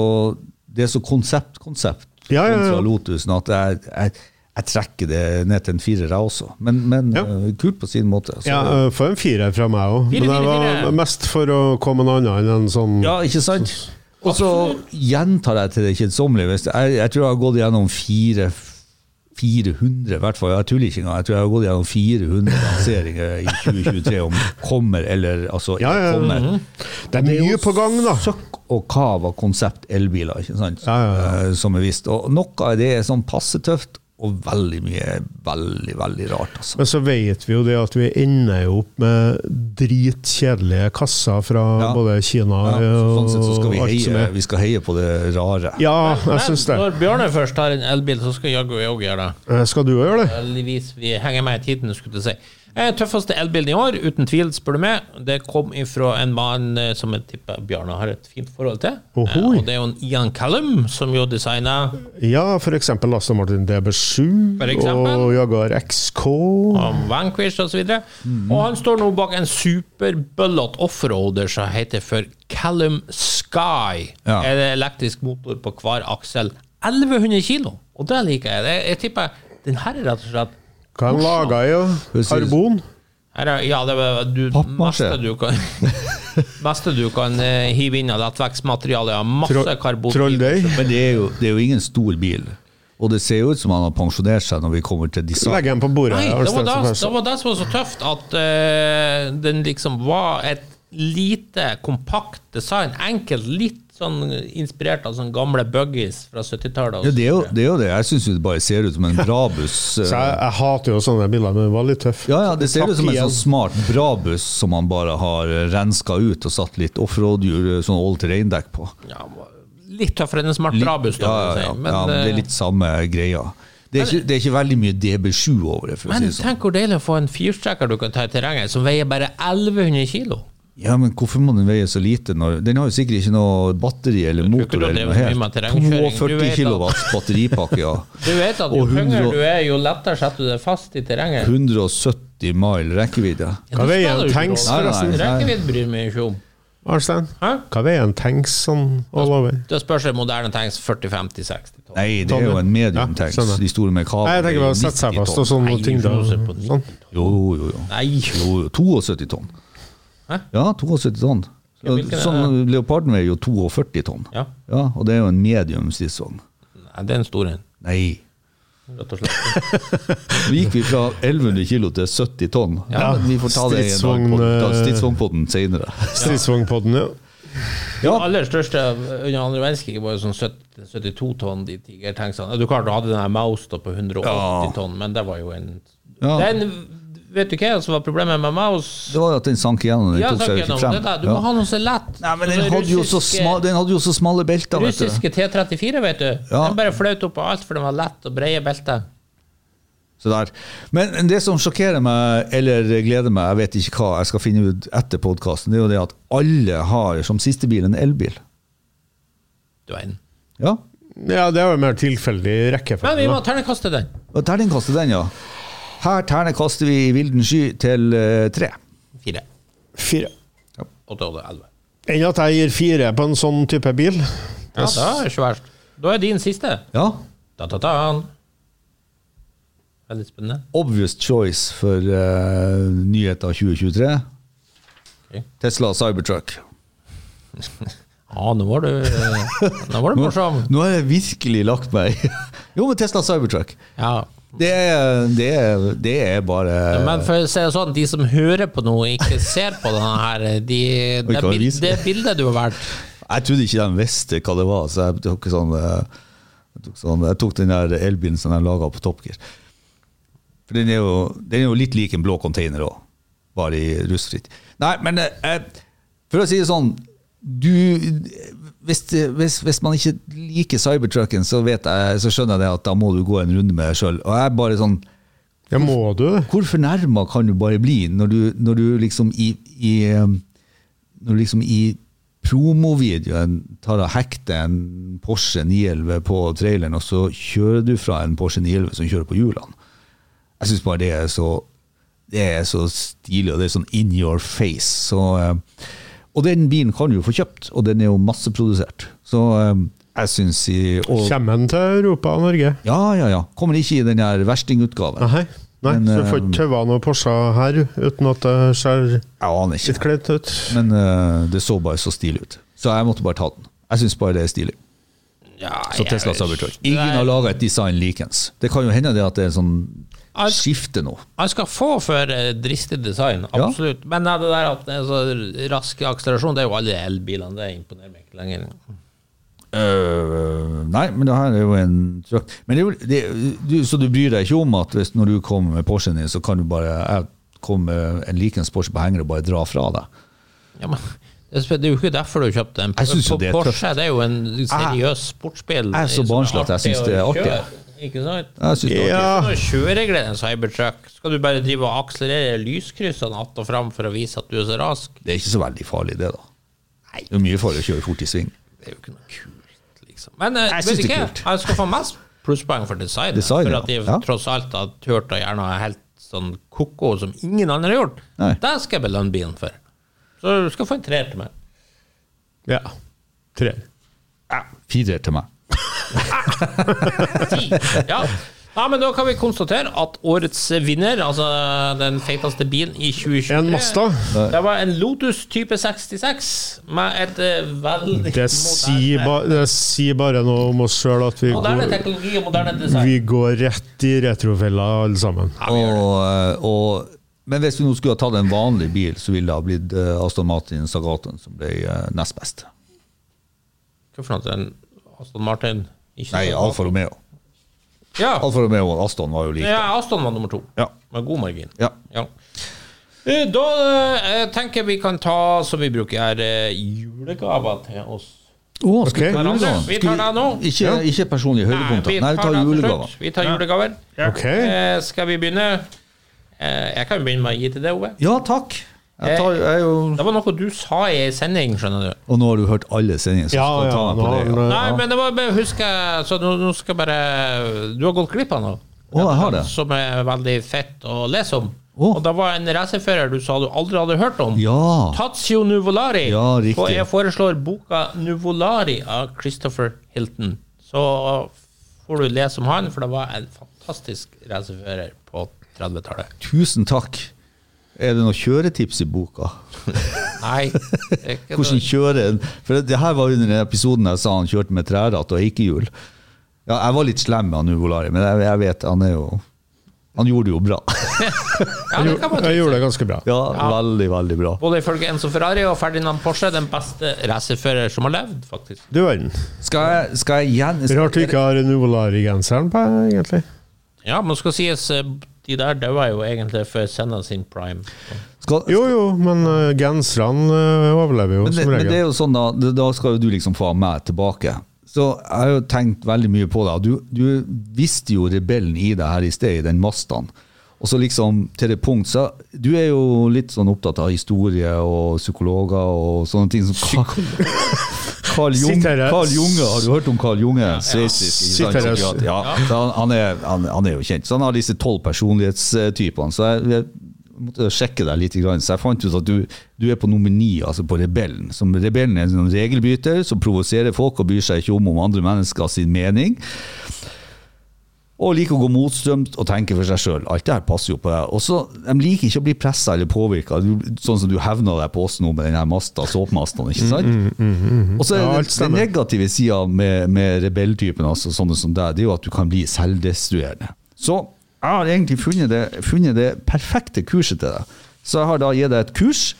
D: det er så konsept, konsept
E: Ja, ja, ja.
D: kontra Lotusen at jeg, jeg, jeg trekker det ned til en firer, jeg også. Men, men
E: Ja.
D: eh, kult på sin måte. Så,
E: Ja, eh, få en firer fra meg òg.
C: Fire,
E: Men det
C: fire, fire.
E: var mest for å komme noe annet enn en sånn
D: Ja, ikke sant? Og så gjentar jeg til det kjedsommelige. hvis- Jeg, jeg tror jeg har gått gjennom fire 400, i hvert fall. Jeg tuller ikke engang. Jeg tror jeg har gått gjennom 400 lanseringer i 2023 om kommer eller altså ikke
E: Ja, ja, ja.
D: kommer.
E: Det er mye på gang, da.
D: Søkk og kav av konsept elbiler, ikke sant?
E: Ja, ja,
D: Eh, Som er vist. Og noe av det er sånn passe tøft, og veldig mye er veldig, veldig rart, altså.
E: Men så vet vi jo det at vi ender jo opp med dritkjedelige kasser fra
D: Ja.
E: både Kina
D: Ja, så
E: og
D: sånn sett så skal vi
E: alt som
D: heie,
E: er.
D: vi skal heie på det rare.
E: Ja, jeg
C: Men
E: syns det.
C: Når Bjørnar først har en elbil, så skal jaggu jeg òg gjøre det.
E: Eh, Skal du òg gjøre det?
C: Heldigvis vi henger med i tiden, skulle jeg si. Eh, Tøffeste elbilen i år, uten tvil, spør du meg. Det kom ifra en mann eh, som jeg tipper Bjarne har et fint forhold til. Eh,
E: Ohoi.
C: Og det er jo en Ian Callum som jo designa
E: Ja, f.eks. Aston Martin DB7
C: For eksempel?
E: og Jaguar XK.
C: om Vanquish osv. videre Og han står nå bak en superbøllete offroader som heter for Callum Sky.
D: Ja.
C: Er det elektrisk motor på hver aksel. 1100 kilo! Og det liker jeg. Det- Jeg tipper den her er rett og slett
E: Hva er den laga i? da?
D: Precis.
E: Karbon?
C: her er, ja, det var du,
D: Pappmasje.
C: meste du kan Meste du kan eh, hive inn av lettvektsmateriale. ja. Masse karbon.
E: Trolldeig?
D: Men det er, jo, det er jo ingen stor bil, og det ser jo ut som han har pensjonert seg når vi kommer til design.
E: Legger den på bordet.
C: Nei, det
E: her,
C: var,
E: Stensen
C: det,
E: Karlsen.
C: det var det som var så tøft, at eh, den liksom var et lite, kompakt design. Enkelt, litt sånn inspirert av sånne gamle buggies fra 70-tallet.
D: Ja, det er jo det. Er jo det. Jeg syns det bare ser ut som en Brabus.
E: Så jeg, jeg hater jo sånne biler, men den var litt tøff.
D: Ja, ja, det ser
E: Takk
D: ut som en
E: igjen.
D: sånn smart Brabus som man bare har renska ut og satt litt offroad-hjul, sånn all terrain-dekk på.
C: Ja, litt tøffere enn en smart Brabus, da,
D: Ja,
C: kan
D: ja,
C: du si.
D: ja, ja, men det
C: eh,
D: er litt samme greia. Det er, ikke, det er ikke veldig mye DB7 over det, for å si
C: men
D: det sånn.
C: tenk hvor deilig å få en firstrekker du kan ta i terrenget, som veier bare 1100 kilo.
D: Ja, men hvorfor må den veie så lite? Når, den har jo sikkert ikke noe batteri eller
C: tror ikke
D: motor
C: det driver mye
D: eller noe
C: med
D: helt.
C: terrengkjøring. Du
D: 42
C: vet at-
D: kilowatts batteripakke, ja.
C: Du vet at jo
D: Og
C: tyngre
D: 100
C: du er, jo lettere setter du deg fast i terrenget.
D: 170 mile rekkevidde.
C: Ja,
E: Hva
C: det
E: veier
C: skal
E: en
C: du ikke
E: tanks,
C: råde.
D: forresten? Nei, nei, nei.
C: Rekkevidde bryr meg ikke om.
E: Arnstein,
C: Hæ? Altså,
E: hva veier en tanks sånn all over?
C: Det spørs en moderne tanks 40-50-60 tonn.
D: Nei, det er jo en medium tanks.
E: Ja, skjønner.
D: De store med kabel.
E: Nei, jeg tenker bare å sette seg
D: 90
E: fast og
D: tonn.
E: sånn
C: Nei,
E: tyngde.
C: du ser på den.
E: Sånn.
D: Jo, jo, jo.
C: Nei.
D: jo, jo 72 tonn.
C: Hæ?
D: Ja, 72 tonn.
C: Ja, hvilken er det?
D: Sånn, Leoparden veier jo 42 tonn.
C: Ja.
D: Ja, og det er jo en medium stridsvogn.
C: Nei, det er en stor en.
D: Nei.
C: Rett og slett.
D: Så gikk vi fra 1100 kilo til 70 tonn. Ja, men vi får ta det i en annen
E: Stridsvogn,
D: pod- ta
E: eh,
D: stridsvognpodden senere.
E: Stridsvognpodden, ja.
D: Ja.
C: Den aller største under andre verdenskrig var jo sånn 70, 72 tonn, de tigertanksene. Du klarte å ha den der Mausta på 180
D: Ja.
C: tonn, men det var jo en
D: Ja.
C: Den, Vet du hva som var problemet med Maus?
D: Det var jo at den sank igjennom. Den
C: Ja,
D: tok
C: takk
D: seg jo ikke
C: gjennom
D: frem.
C: det der. Du må
D: Ja.
C: ha noe som er lett.
D: Nei, men den
C: Sånne
D: hadde, jo så
C: russiske-
D: sma, den hadde jo så smale belter, vet du.
C: Russiske T-34, vet du.
D: Ja.
C: Den bare fløt opp av alt, for den var lett og brede belter.
D: Så der. Men det som sjokkerer meg, eller gleder meg, jeg vet ikke hva jeg skal finne ut etter podkasten, det er jo det at alle har som siste bil en elbil.
C: Du verden.
D: Ja.
E: ja, det er jo mer tilfeldig
C: Men vi
E: rekkefølge.
C: må
E: da.
C: ternekaste den.
D: Og Terningkastet den, ja. Her ternekaster vi i vilden sky til eh, tre.
C: Fire.
E: Fire.
C: Åtte, åtte, elleve.
E: Enn at jeg gir fire på en sånn type bil.
C: Ja, det er ikke verst. Da er din siste.
D: Ja,
C: Da, da, da. Veldig spennende.
D: obvious choice for eh, nyheter 2023.
C: Ok.
D: Tesla Cybertruck.
C: Ja, nå var du Nå var du morsom.
D: Nå har jeg virkelig lagt meg Jo, men Tesla Cybertruck.
C: Ja.
D: Det er, det er, det er bare
C: Men for å si det sånn, de som hører på nå, ikke ser på denne her, de, det,
D: kan
C: bil-
D: vise
C: det
D: det.
C: bildet du har valgt
D: Jeg trodde ikke de visste hva det var, så jeg tok, sånn, eh, jeg tok, sånn, jeg tok den der elbilen som de laga på Top Gear. For den er, jo, den er jo litt lik en blå container òg, bare i rustfritt. Nei, men eh, eh, for å si det sånn du, hvis, det- hvis, hvis man ikke liker cybertrucken, så, vet jeg, så skjønner jeg det at da må du gå en runde med deg sjøl. Og jeg er bare sånn
E: Ja, må du det?
D: hvor fornærma kan du bare bli når du, når du liksom i, i um, Når du liksom i promovideoen tar og hekter en Porsche 911 på traileren, og så kjører du fra en Porsche 911 som kjører på hjulene. Jeg syns bare det er så det er så stilig, og det er sånn in your face. Så, eh, og den bilen kan du jo få kjøpt, og den er jo masseprodusert. Så eh, jeg syns i og,
E: Kommer den til Europa og Norge?
D: Ja, ja, ja. Kommer ikke i den her verstingutgaven.
E: Nei. Nei,
D: Men,
E: så du får
D: eh,
E: ikke taua noen Porscher her uten at det ser
D: Jeg aner ikke.
E: litt kleint ut.
D: Men eh, det så bare så stilig ut. Så jeg måtte bare ta den. Jeg syns bare det er stilig.
C: ja,
D: Så
C: jeg-
D: Tesla Cybertruck. Ingen har
C: Nei,
D: laga et design likens. Det kan jo hende det at det er sånn
C: Alt-
D: skifte nå.
C: Han skal få for eh, dristig design, absolutt. Men eh, det der at det er så rask akselerasjon, det er jo alle elbilene. Det imponerer meg ikke lenger.
D: Øh, nei, men det her er jo en truck. Men det er jo, det, du, så du bryr deg ikke om at hvis når du kommer med Porschen din, så kan du bare jeg kom med en likens Porsche på henger og bare dra fra deg?
C: Ja, men det er jo ikke derfor du kjøpte den.
D: Jeg synes jo
C: På
D: det er
C: Porsche det er jo en seriøs sportsbil.
D: jeg er så
C: som
D: barnslig at jeg
C: artig
D: synes det er
C: å
D: artig.
C: kjøre, Ikke sant?
D: Jeg synes det var
E: Ja.
C: Nå kjører jeg en cybertruck. Skal du bare drive og akselerere lyskryssene att og fram for å vise at du er så rask?
D: kult. det er ikke så veldig farlig, det, da. Det er mye farlig å kjøre fort i sving.
C: Det er jo ikke noe kult, liksom. Men eh,
D: Jeg synes
C: vet
D: det er
C: ikke,
D: kult.
C: han skal få mest plusspoeng for designet.
D: Design,
C: for at de
D: ja. Ja.
C: tross alt har turt å gjerne ha helt sånn koko som ingen andre har gjort.
D: Nei.
C: Det skal jeg belønne bilen for. Så du skal få en treer til meg.
E: Ja. Tre.
D: Firer til meg.
C: Ti. Ja. ja, men da kan vi konstatere at årets vinner, altså den feiteste bilen i 2020
E: En Mazda.
C: Det var en Lotus type 66 med et eh, veldig
E: Det sier, ba, det sier bare noe om oss sjøl at vi
C: moderne
E: går,
C: teknologi og moderne design.
E: vi går rett i retrofella, alle sammen.
D: Og, eh, og, men hvis vi nå skulle ha tatt en vanlig bil, så ville det ha blitt eh, Aston Martin Sagaten som ble eh, nest best.
C: Hva for noe? Den Aston Martin? Ikke
D: Nei,
C: sant?
D: Alfa Romeo.
C: Ja.
D: Alfa Romeo og Aston var jo like.
C: ja, Aston var nummer to.
D: Ja.
C: Med god margin.
D: Ja.
C: Ja. Eh, Da eh, tenker jeg vi kan ta, som vi bruker her, eh, julegaver til oss.
D: Oh,
E: Ok.
C: Hverandre. Vi tar det nå.
D: Ikke, ikke personlige høydepunkter. Nei, vi tar
C: det til
D: julegaver.
C: slutt. Vi tar julegaver.
E: Ok.
C: Eh, skal vi begynne? Eh, jeg kan jo begynne med å gi til deg, Ove.
D: Ja, takk. Jeg
C: Eh.
D: tar, jeg er jo...
C: Det var noe du sa i ei sending, skjønner du.
D: Og nå har du hørt alle sendingene, så
E: Ja,
D: skal jeg ta
E: ja,
D: meg på
E: nå-
D: det. Ja.
C: Nei, men det var bare husk eh, Så nå, nå skal jeg bare Du har gått glipp av noe.
D: Å, jeg har det.
C: Som er veldig fett å lese om.
D: Å.
C: Og det var en racerfører du sa du aldri hadde hørt om.
D: Ja.
C: Tazio Nuvolari.
D: Ah. Ja, riktig.
C: og jeg foreslår boka 'Nuvolari' av Christopher Hilton. Så får du lese om han, for det var en fantastisk racerfører på 30-tallet.
D: Tusen takk. Er det noen kjøretips i boka?
C: Nei. det er ikke
D: Hvordan
C: noe-
D: kjøre en For det her var under den episoden jeg sa han kjørte med træratt og eikehjul. Ja, jeg var litt slem med han Uvolari, men jeg, jeg vet han er jo Han gjorde det jo bra.
C: Ja, det kan man
E: Jeg gjorde det ganske bra.
D: ja, veldig, veldig bra.
C: Både ifølge Enzo Ferrari og Ferdinand Porsche den beste racerfører som har levd, faktisk.
E: Du verden.
D: Skal jeg, skal jeg igjen
E: Rart du ikke har Nuvolari-genseren på, egentlig.
C: Ja, men skal sies, eh, de der daua jo egentlig før Senna sin prime.
D: skal,
E: Jo jo, men uh, genserne eh, overlever jo
D: men, det,
E: som
D: men det
E: regel.
D: er jo sånn, da det- Da skal jo du liksom få meg tilbake. Så jeg har jo tenkt veldig mye på det. og Du, du visste jo rebellen i deg her i sted, i den mastaen. Og så liksom til det punkt så Du er jo litt sånn opptatt av historie og psykologer og sånne ting som kan, Carl, Jung,
E: Sitter her-
D: Carl Junge, har du hørt om Carl Junge? Sveitsisk ikke sant,
E: Sitter her-
D: psykiater. ja. Så han, han, er, han, han er jo kjent. Så han har disse tolv personlighetstypene. Så jeg, jeg måtte sjekke deg litt, grann, så jeg fant ut at du, du er på nummer ni, altså på rebellen. Som rebellen er en sånn regelbryter som provoserer folk og bryr seg ikke om om andre mennesker sin mening. Og liker å gå motstrømt og tenke for seg sjøl. Alt det her passer jo på deg. Og så, De liker ikke å bli pressa eller påvirka, sånn som du hevna deg på oss nå med den her masta, såpemastene. ikke sant?
E: Mm,
D: Og så er
E: Ja,
D: det,
E: alt
D: den
E: stemmer.
D: negative sida med, med rebelltypen, altså sånne som deg, det er jo at du kan bli selvdestruerende. Så jeg har egentlig funnet det, funnet det perfekte kurset til deg. Så jeg har da gitt deg et kurs.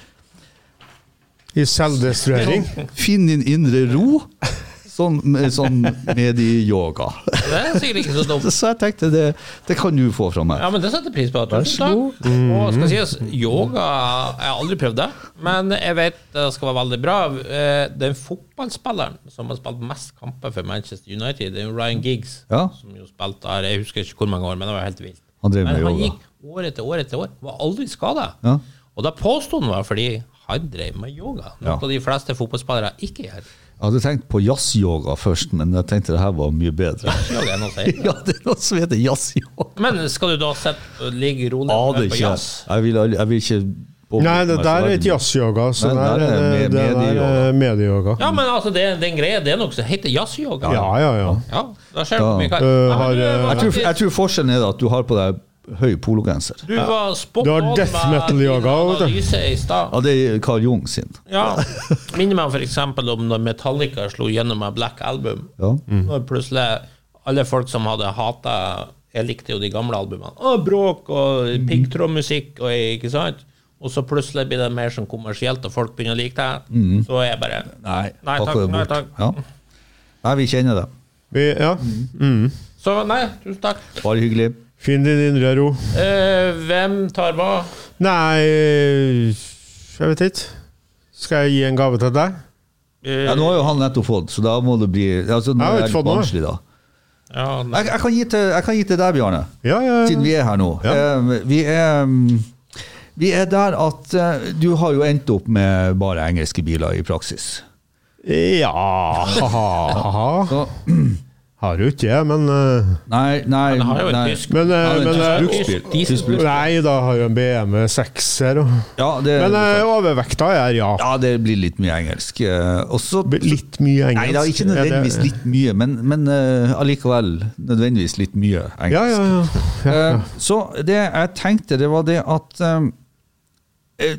E: I selvdestruering.
D: Finn din indre ro, sånn, sånn medi-yoga.
C: Det er sikkert ikke så dumt.
D: Så jeg tenkte det, det kan du få fra meg.
C: Ja, men Det setter jeg pris på. Tusen takk.
D: Mm.
C: Og skal sies, yoga Jeg har aldri prøvd det, men jeg vet det skal være veldig bra. Eh, Den fotballspilleren som har spilt mest kamper for Manchester United, det er jo Ryan Giggs,
D: Ja.
C: som jo spilte her Jeg husker ikke hvor mange år, men det var helt vilt.
D: Han drev med
C: men han
D: yoga.
C: gikk år etter år etter år, var aldri skada.
D: Ja.
C: Og da påsto han var fordi han drev med yoga, noe
D: Ja.
C: de fleste fotballspillere ikke gjør.
D: Jeg hadde tenkt på jazzyoga først, men jeg tenkte det her var mye bedre.
C: Yoga er noe å si.
D: Ja, det er noe som heter jazzyoga.
C: Men skal du da sitte og ligge rolig og
D: Aner
C: høre på
D: ikke.
C: jazz?
D: Jeg vil, aldri- jeg vil ikke påvirke
E: Nei,
D: meg
E: det
D: så
E: der er
D: veldig
E: ikke
D: mye.
E: jazzyoga. så
D: Nei,
E: der
D: der
E: er
D: er
E: det-
D: det
E: det der er medieyoga.
C: Ja, men altså, det, den greia, det er noe som heter jazzyoga.
E: Ja, ja, ja.
C: Ja, da skjer det
D: Ja.
C: mye.
E: Øh,
C: Ja, men du,
E: har, øh,
C: var
D: Jeg tror,
C: faktisk-
D: jeg tror forskjellen er at du har på deg høy pologenser.
C: du var spot
E: Du har
C: on
E: death
C: med
E: metal-yoga
C: din
E: også, vet du.
C: analyse i stad.
D: Ja, det er Carl Jung sin.
C: Ja. Minner meg f.eks. om når Metallica slo gjennom med Black Album.
D: Ja.
E: Mm.
C: Når plutselig alle folk som hadde hata Jeg likte jo de gamle albumene. Og bråk
E: Mm.
C: og piggtrådmusikk og ikke sant? Og så plutselig blir det mer sånn kommersielt, og folk begynner å like det.
E: Mm.
C: Så er jeg bare
D: Nei,
C: Nei
D: pakk
C: takk.
D: det
C: Nei,
D: bort.
C: takk.
D: Ja. Nei, vi kjenner det.
E: Vi, ja.
D: Mhm.
C: Så nei, tusen takk.
D: Bare hyggelig.
E: Finn din indre ro.
C: Eh, hvem tar hva?
E: Nei Jeg vet ikke. Skal jeg gi en gave til deg?
C: Eh,
D: Ja, nå har jo han nettopp fått, så da må det bli altså, Nå
E: har
D: er
E: ikke
D: det litt
E: fått noe.
D: vanskelig, da.
C: ja, nei.
D: Jeg, jeg, kan gi til, jeg kan gi til deg, Bjarne.
E: Ja, ja.
D: siden vi er her nå.
E: Ja.
D: Eh, Vi er mm, vi er der at eh, du har jo endt opp med bare engelske biler i praksis.
E: Ja ha-ha.
D: Så,
E: Har jo ikke jeg, men eh,
D: nei,
C: Han
D: nei,
C: har jo et
D: nei.
C: tysk
E: Men, eh,
D: Ja, det er
E: men
D: tysk
E: eh,
D: bruksbil.
C: og- diesel-
D: Tysk bruksbil.
E: Nei, da har jo en BMW 6-er. og-
D: Ja, det,
E: Men eh, overvekta er ja.
D: ja, det blir litt mye engelsk. eh, Og så
E: Litt mye engelsk.
D: Nei, det er ikke nødvendigvis
E: Er det-
D: litt mye, men, men eh, allikevel nødvendigvis litt mye engelsk.
E: Ja, ja, ja.
D: Eh, Så det jeg tenkte, det var det at eh,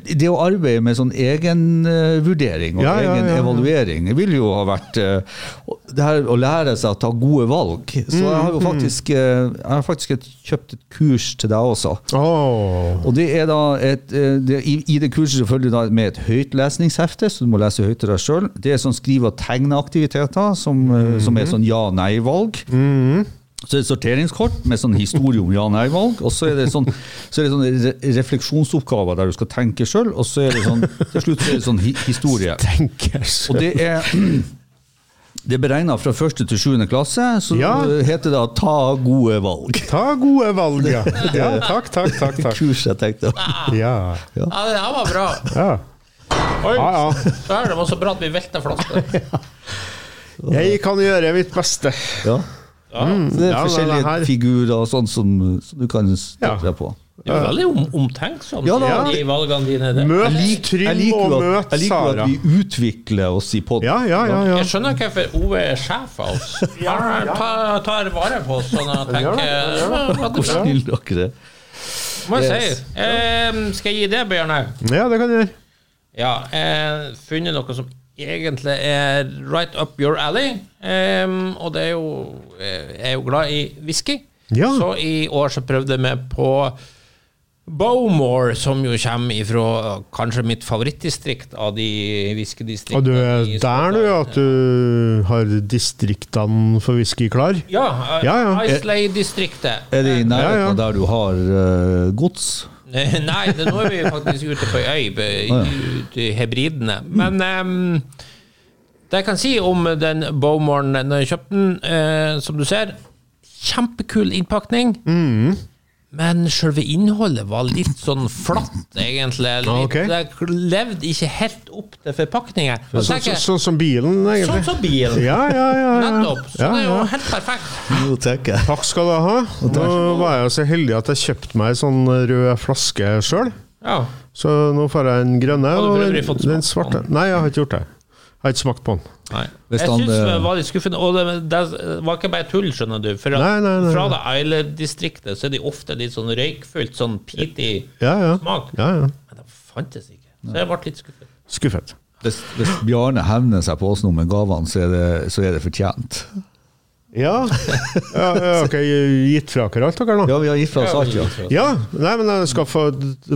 D: Det å arbeide med sånn egenvurdering og
E: Ja, ja,
D: egen
E: ja, ja.
D: evaluering det vil jo ha vært eh, å- det her å lære seg å ta gode valg.
E: Mm,
D: Så jeg har jo faktisk, eh, jeg har faktisk et, kjøpt et kurs til deg også.
E: Åh.
D: Og det er da et, eh, det, i, I det kurset så følger du da med et høytlesningshefte, så du må lese høyt til deg sjøl. Det er sånn skrive- og tegneaktiviteter, som, eh, som er sånn ja-nei-valg. Mhm. Så er det sorteringskort med sånn historie om ja-nei-valg, og så er det sånn så er det sånne re refleksjonsoppgaver der du skal tenke sjøl, og så er det sånn til slutt så er det sånn hi historie.
E: Tenkers.
D: Og det er det er beregna fra første til sjuende klasse, så
E: Ja.
D: heter det da 'ta gode valg'.
E: Ta gode valg, ja. ja takk, takk, takk. takk.
D: Kurs, jeg tenkte.
E: Ja.
C: Ja, det her var bra.
E: ja.
C: Oi,
E: Ja, ja.
C: så er det var så bra at vi velter flasker.
E: Jeg kan gjøre mitt beste.
D: Ja. Så det er
E: Ja, men det
D: forskjellige
E: her-
D: figurer og sånn som, som du kan støtte
E: Ja.
D: deg på.
C: Du er veldig om, omtenksom
D: Ja, da.
C: i de valgene dine. Det-
E: Møt
D: Jeg
E: Trym
D: liker
E: og
D: jo at,
E: møt
D: jeg liker jo
E: Sara.
D: at vi utvikler oss i podden.
E: Ja, ja, ja. ja.
C: Jeg skjønner ikke hvorfor Ove er sjef av oss. Han tar, tar vare på oss sånn at jeg tenker
E: gjør det,
C: ja, veldig
D: Hvor
C: bra.
D: snill dere er.
C: Må jeg si. Eh, skal jeg gi det, Bjørne?
E: Ja, det kan du gjøre.
C: Ja, eh, funnet noe som egentlig er right up your alley. Em, og det er jo eh, Jeg er jo glad i whisky,
E: Ja.
C: så i år så prøvde jeg meg på Bowmore, som jo kommer ifra eh, kanskje mitt favorittdistrikt av de whiskydistriktene.
E: Og du er
C: i
E: der, du,
C: Skottland.
E: at du har distriktene for whisky klar?
C: Ja. eh,
E: Ja, ja.
C: Islay-distriktet.
D: Er det i nærheten
E: Ja, ja.
D: der du har eh, gods?
C: Nei, det, nå er vi faktisk ute på ei øy, be- ute i Hebridene. Men em, det jeg kan si om den Bowmoren
E: Mm.
C: når jeg kjøpte den, eh, som du ser Kjempekul innpakning. Men selve innholdet var litt sånn flatt, egentlig. Litt,
E: Ah, ok.
C: Det levde ikke helt opp til forpakninga.
E: Sånn
C: Sånn,
E: så, sånn som bilen, egentlig.
C: sånn som bilen.
E: Ja, ja, ja. ja.
C: Nettopp. Så
E: Ja,
C: det er jo
E: ja.
C: helt perfekt.
D: Jo, tenker jeg.
E: Takk skal du ha. Nå var jeg jo så heldig at jeg kjøpte meg ei sånn rød flaske sjøl.
C: Ja.
E: Så nå får jeg den grønne
C: Har du
E: og
C: for
E: den,
C: øvrig fått
E: den
C: smakt på
E: svarte. Nei, jeg har ikke gjort det. Jeg har ikke smakt på den.
C: Nei.
D: Hvis
C: Jeg
D: han,
C: syns det
D: eh,
C: var litt skuffende. Og det, det var ikke bare tull, skjønner du. For at
E: Nei, nei, nei.
C: Fra det Isle-distriktet så er de ofte litt sånn røykfullt, sånn peaty
E: Ja, ja.
C: smak.
E: ja, ja.
C: Men det fantes ikke. Så jeg ble litt skuffet.
E: Skuffet.
D: Hvis, hvis Bjarne hevner seg på oss nå med gavene, så er det, så er det fortjent.
E: Ja. ja, ja ok, gitt fra dere alt dere nå?
D: Ja, vi har gitt fra oss alt, ja.
E: Ja, nei, men jeg skal få,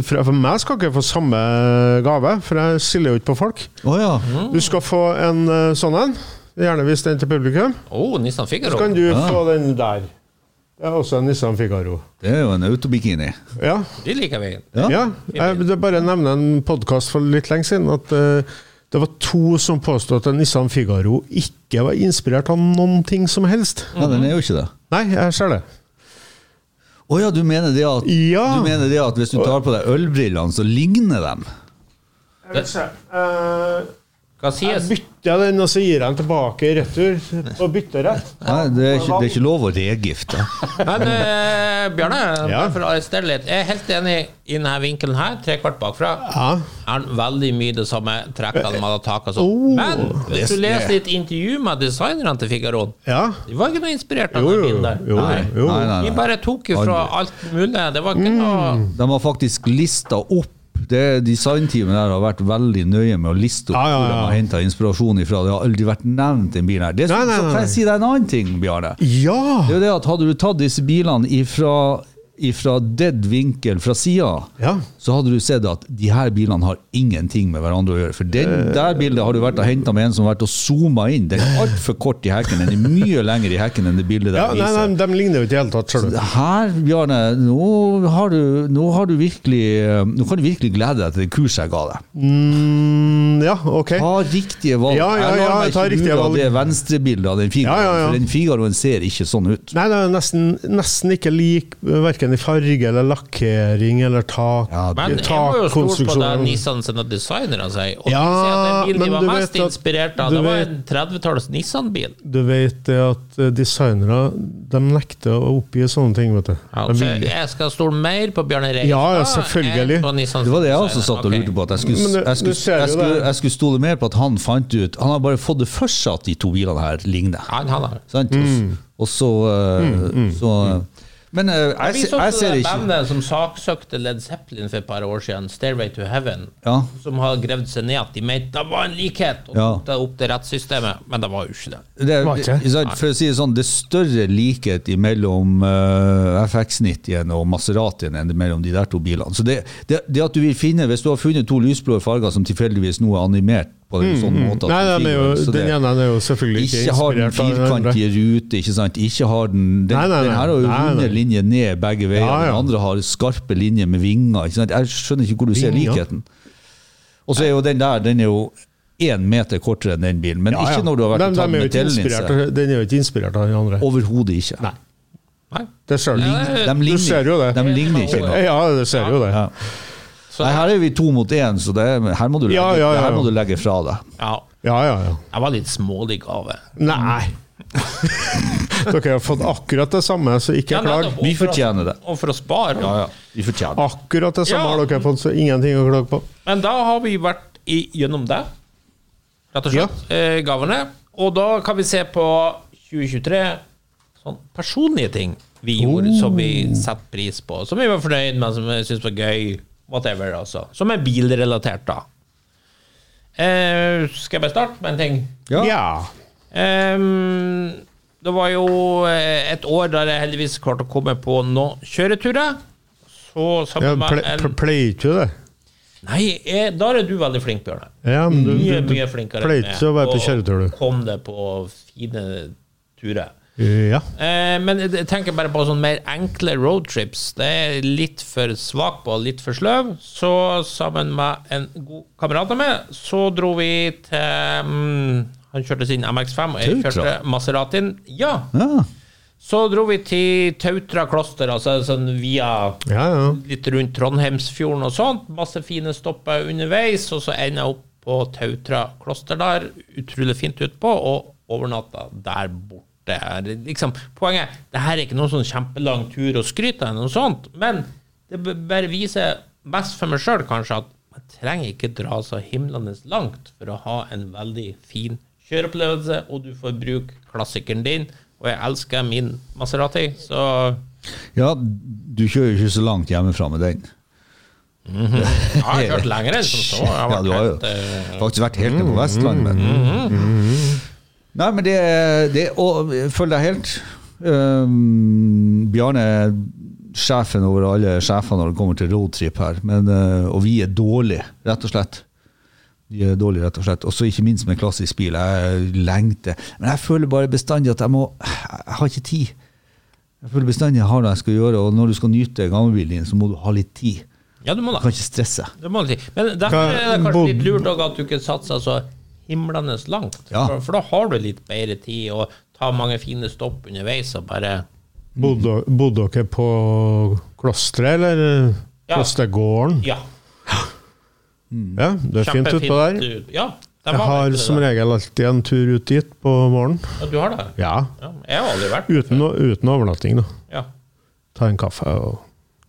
E: for, for meg skal ikke jeg få samme gave, for jeg stiller jo ikke på folk.
D: Å ja.
E: Du skal få en eh, sånn en. Gjerne vis den til publikum.
C: Oh, Nissan Figaro.
E: Så kan du
D: Ah.
E: få den der. Det er også en Nissan Figaro.
D: Det er jo en autobikini.
E: Ja.
C: De liker vi.
D: Ja.
E: ja. Jeg vil bare nevne en podkast for litt lenge siden. at eh, det var to som påstod at en Nissan Figaro ikke var inspirert av noen ting som helst.
D: Ja, den er jo ikke det.
E: Nei, jeg ser det.
D: Å ja, du mener det at
E: Ja!
D: Du mener det at hvis du tar på deg ølbrillene, så ligner de?
E: Jeg vil se. Eh,
C: Hva
E: Jeg
C: sies?
E: bytter jeg den, og så gir jeg den tilbake i retur. Og bytter rett.
D: Nei, det er ikke, det er ikke lov å regifte.
C: Men eh, Bjarne,
E: Ja.
C: bare for å arrestere litt. Jeg er helt enig i denne vinkelen her, tre kvart bakfra.
E: Ja.
C: er han veldig mye det samme trekkene man har tatt. og sånn.
E: Oh,
C: Men hvis
D: det-
C: du leser litt intervju med designerne til Figaroen,
E: ja.
C: de var ikke noe inspirert av
E: Jo,
C: den
E: jo,
C: bilen der.
E: jo,
D: Nei,
E: jo.
D: nei, nei. Mm.
C: De bare tok jo fra alt mulig. Det var ikke noe
D: De har faktisk lista opp det Designteamet der har vært veldig nøye med å liste opp
E: Ja, ja, ja.
D: hvor de har henta inspirasjon ifra. Det har aldri vært nevnt en bil her. Det,
E: Nei, nei,
D: Så
E: nei.
D: kan jeg si deg en annen ting, Bjarne. Det
E: Ja!
D: er jo det at Hadde du tatt disse bilene ifra, ifra dead vinkel fra sida,
E: Ja.
D: så hadde du sett at de her bilene har ingenting med hverandre å gjøre. For
E: Eh.
D: den der bildet har du vært og henta med en som har vært og zooma inn. Den er altfor kort i hekken. Den er mye lenger i hekken enn det bildet der
E: ja nei,
D: viser.
E: nei, de ligner jo ikke i det hele tatt, ser du.
D: Her, Bjarne, nå har du, nå har du virkelig eh, Nå kan du virkelig glede deg til det kurset jeg ga deg.
E: Mm, ja, OK.
D: Ta riktige valg.
E: Ja, ja,
D: Jeg lar
E: ja,
D: meg
E: ta
D: ikke
E: riktige
D: lure av
E: valg.
D: Det venstrebildet av den figaroen,
E: Ja, ja, ja.
D: for den figaroen ser ikke sånn ut.
E: Nei, det er nesten, nesten ikke lik verken i farge eller lakkering eller tak.
D: Ja,
C: Men jeg må jo stole på det Nissan sine designere sier. Og
E: Ja,
C: de sier at den bilen
E: men
C: de var
E: du
C: mest
E: vet at-
C: inspirert av,
E: du
C: det var
E: vet-
C: en 30-talls Nissan-bil.
E: Du vet det at eh, designere de nekter å oppgi sånne ting, vet du.
C: Ja,
E: De
C: så
E: vil ikke.
C: Altså, jeg skal stole mer på Bjarne Reistad
E: Ja, ja, selvfølgelig.
C: enn på Nissan
D: Det var det jeg også
C: sine
D: satt og
C: designer.
D: lurte på. At jeg skulle,
E: Men det-
D: jeg,
E: du
D: skulle,
E: ser jo
D: jeg, skulle,
E: det.
D: jeg skulle stole mer på at han fant ut Han har bare fått det for seg at de to bilene her ligner.
C: Ja, han har det.
D: Sant? Og
E: Mm.
D: s- Og så, eh, så eh, Men eh, jeg,
C: Vi
D: se-
C: så
D: jeg
C: til det
D: ser ikke
C: bandet sånn som saksøkte Led Zeppelin for et par år siden, Stairway to Heaven,
D: Ja.
C: som har grevd seg ned at de mente det var en likhet, og
D: Ja.
C: tok det opp til rettssystemet, men det var jo ikke det.
D: Det,
E: Var ikke?
D: ikke sant, for å si det sånn, det er større likhet eh, mellom FX90-en og Maseratien enn det mellom de der to bilene. Så det, det, det at du vil finne, Hvis du har funnet to lysblå farger som tilfeldigvis nå er animert på en sånn måte at
E: Mm, Nei,
D: de
E: de er jo,
D: ligner, så det-
E: den ene er jo selvfølgelig ikke,
D: ikke har den
E: inspirert av den andre.
D: firkantige rute, ikke sant? Ikke har den, den,
E: Nei, nei, nei.
D: den her har jo
E: Nei, nei.
D: runde linjer ned begge veier,
E: Ja, ja.
D: den andre har skarpe linjer med vinger. Ikke sant? Jeg skjønner ikke hvor du ser
E: Vinger.
D: likheten. Og så er jo den der, den er jo én meter kortere enn den bilen, men
E: Ja, ja.
D: ikke når du har vært
E: Dem-
D: og
E: dem
D: tatt
E: er jo
D: med
E: ikke
D: tellinse.
E: inspirert av- Den er jo ikke inspirert av den andre.
D: Overhodet ikke.
E: Nei.
C: Nei.
E: Det ser du.
C: Ja,
D: De ligner,
E: ser jo det.
D: De ligner ikke engang.
E: Ja, det ser jo det.
D: Ja. Nei, her er vi to mot én, så det, er- her, må du legge,
E: Ja, ja, ja,
D: her må
E: ja.
D: du legge fra deg.
C: Ja,
E: Ja, ja, ja.
C: jeg var litt smålig gave.
E: Nei. Dere har fått akkurat det samme, så ikke
C: Ja,
E: klag.
C: nettopp.
D: Vi fortjener det.
C: Og for å spare.
D: Vi fortjener
E: Ah.
D: det.
E: Akkurat det samme
C: Ja.
E: har dere fått, så ingenting å klage på.
C: Men da har vi vært i, gjennom det, rett og slett, eh, gavene. Og da kan vi se på 2023 sånn personlige ting vi gjorde
D: Oh.
C: som vi setter pris på, som vi var fornøyd med, som vi syntes var gøy, whatever, altså. Som er bilrelatert, da. Eh, skal jeg bare starte med en ting?
D: Ja.
E: Ja.
C: Ehm, det var jo eh, et år der jeg heldigvis klarte å komme på noen kjøreturer. Så
E: Jeg
C: sammen
E: ple-
C: med en
E: ple- pleier ikke det.
C: Nei, eh, der er du veldig flink, Bjørne.
E: Ja, men du,
C: Mye,
E: du,
C: mye
E: du
C: flinkere
E: pleier ikke å være på kjøretur, du.
C: Kom det på fine turer.
E: Ja.
C: Eh, men jeg tenker bare på sånn mer enkle roadtrips. Det er jeg litt for svak på, litt for sløv. Så sammen med en god kamerat av meg, så dro vi til mm, Han kjørte sin MX5, og jeg
D: Tautra.
C: kjørte Maseratien. Ja!
D: Ja.
C: Så dro vi til Tautra kloster, altså sånn via
E: Ja, ja.
C: litt rundt Trondheimsfjorden og sånt. Masse fine stopper underveis, og så ender jeg opp på Tautra kloster der. Utrolig fint utpå, og overnatta der borte. Liksom, poenget det her er ikke noen sånn kjempelang tur å skryte av, eller noe sånt, men det b- bare viser mest for meg sjøl kanskje at man trenger ikke dra så himlende langt for å ha en veldig fin kjøreopplevelse, og du får bruke klassikeren din. Og jeg elsker min Maserati, så
D: Ja, du kjører jo ikke så langt hjemmefra med den.
C: Jeg har kjørt lenger enn som så. Jeg har
D: Ja,
C: vært
D: du har jo
C: helt, eh, Mm,
D: faktisk vært helt nede på Vestlandet. Nei, men det, det Og følg deg helt. Um, Bjarne er sjefen over alle sjefer når det kommer til roadtrip her, men, uh, og vi er dårlige, rett og slett. Vi er dårlige, rett og slett. Og så ikke minst med klassisk bil. Jeg lengter. Men jeg føler bare bestandig at jeg må Jeg har ikke tid. Jeg føler bestandig jeg har noe jeg skal gjøre, og når du skal nyte gammelbilen din, så må du ha litt tid.
C: Ja, du må
D: Du kan
C: da.
D: ikke stresse.
C: Det må du si. Men derfor
E: Hva-
C: er det kanskje
E: bo-
C: litt lurt også at du ikke satser så himlende langt.
D: Ja.
C: For, for da har du litt bedre tid og tar mange fine stopp underveis og bare
E: Bodde, bodde dere på klosteret, eller
C: Ja.
E: klostergården?
C: Ja.
E: Ja, det er fint utpå der.
C: ut. Ja, det
E: Jeg
C: var
E: har
C: egentlig
E: som
C: det.
E: regel alltid en tur ut dit på morgenen.
C: Ja, du har det?
E: Ja,
C: Ja, jeg har aldri vært
E: uten, å- uten overnatting, da.
C: Ja.
E: Ta en kaffe og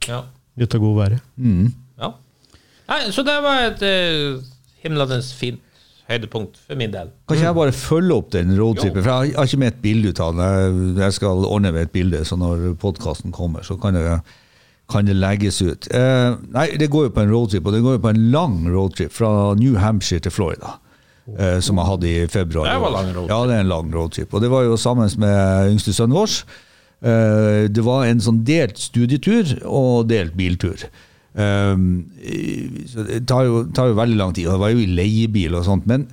C: ja.
E: nyte god været.
C: ja. Nei, så det var et uh, himlende fint høydepunkt for min del.
D: Kan ikke jeg bare følge opp den roadtripen? For jeg har- jeg har ikke med et bilde ut av den. Jeg- Jeg skal ordne med et bilde, så når podkasten kommer, så kan det, kan det legges ut. Eh, nei, det går jo på en roadtrip, og det går jo på en lang roadtrip fra New Hampshire til Florida. eh, Som jeg hadde i februar.
C: Det var
D: i år.
C: lang roadtrip.
D: Ja, det er en lang roadtrip. Og det var jo sammen med yngste sønnen vår. Eh, Det var en sånn delt studietur og delt biltur. Um, i- så det tar jo, tar jo veldig lang tid, og det var jo i leiebil og sånt. Men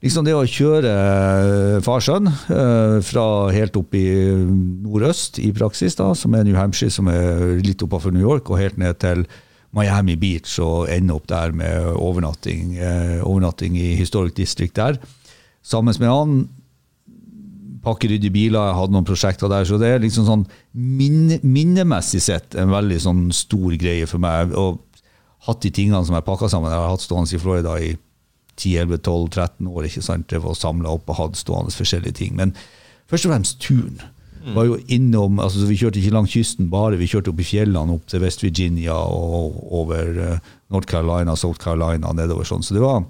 D: liksom det å kjøre farsønn eh, fra helt opp i nordøst i praksis, da, som er New Hampshire, som er litt oppafor New York, og helt ned til Miami Beach og ende opp der med overnatting, eh, overnatting i Historic District der. Sammen med han pakkeryddige biler, jeg hadde noen prosjekter der, så det er liksom sånn minne, minnemessig sett en veldig sånn stor greie for meg. Og hatt de tingene som jeg pakka sammen, jeg har hatt stående i Florida i 10-11-12-13 år, ikke sant, det var samla opp og hatt stående forskjellige ting. Men først og fremst turen. Var jo innom, altså Vi kjørte ikke langs kysten bare, vi kjørte opp i fjellene, opp til West Virginia og over eh, North Carolina, South Carolina, nedover sånn. Så det var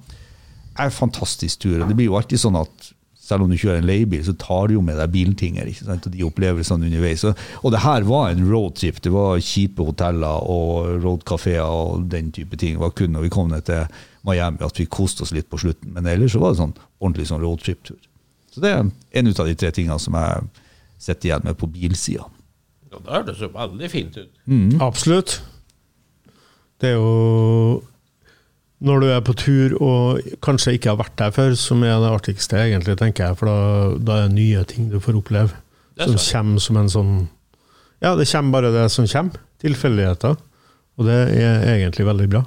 D: er en fantastisk tur. og Det blir jo alltid sånn at selv om du kjører en leiebil, så tar du jo med deg biltinger ikke sant? og de opplevelsene underveis. Og, og det her var en roadtrip. Det var kjipe hoteller og roadkafeer og den type ting. Det var kun når vi kom ned til Miami at vi koste oss litt på slutten. Men ellers så var det sånn ordentlig sånn roadtrip-tur. Så det er en ut av de tre tingene som jeg sitter igjen med på bilsida.
C: Ja, det hørtes jo veldig fint ut.
E: Absolutt. Det er jo når du er på tur og kanskje ikke har vært der før, som er det artigste, egentlig, tenker jeg. For da, da er det nye ting du får oppleve.
C: Det
E: Som
C: tror jeg.
E: kommer som en sånn Ja, det kommer bare det som kommer. Tilfeldigheter. Og det er egentlig veldig bra.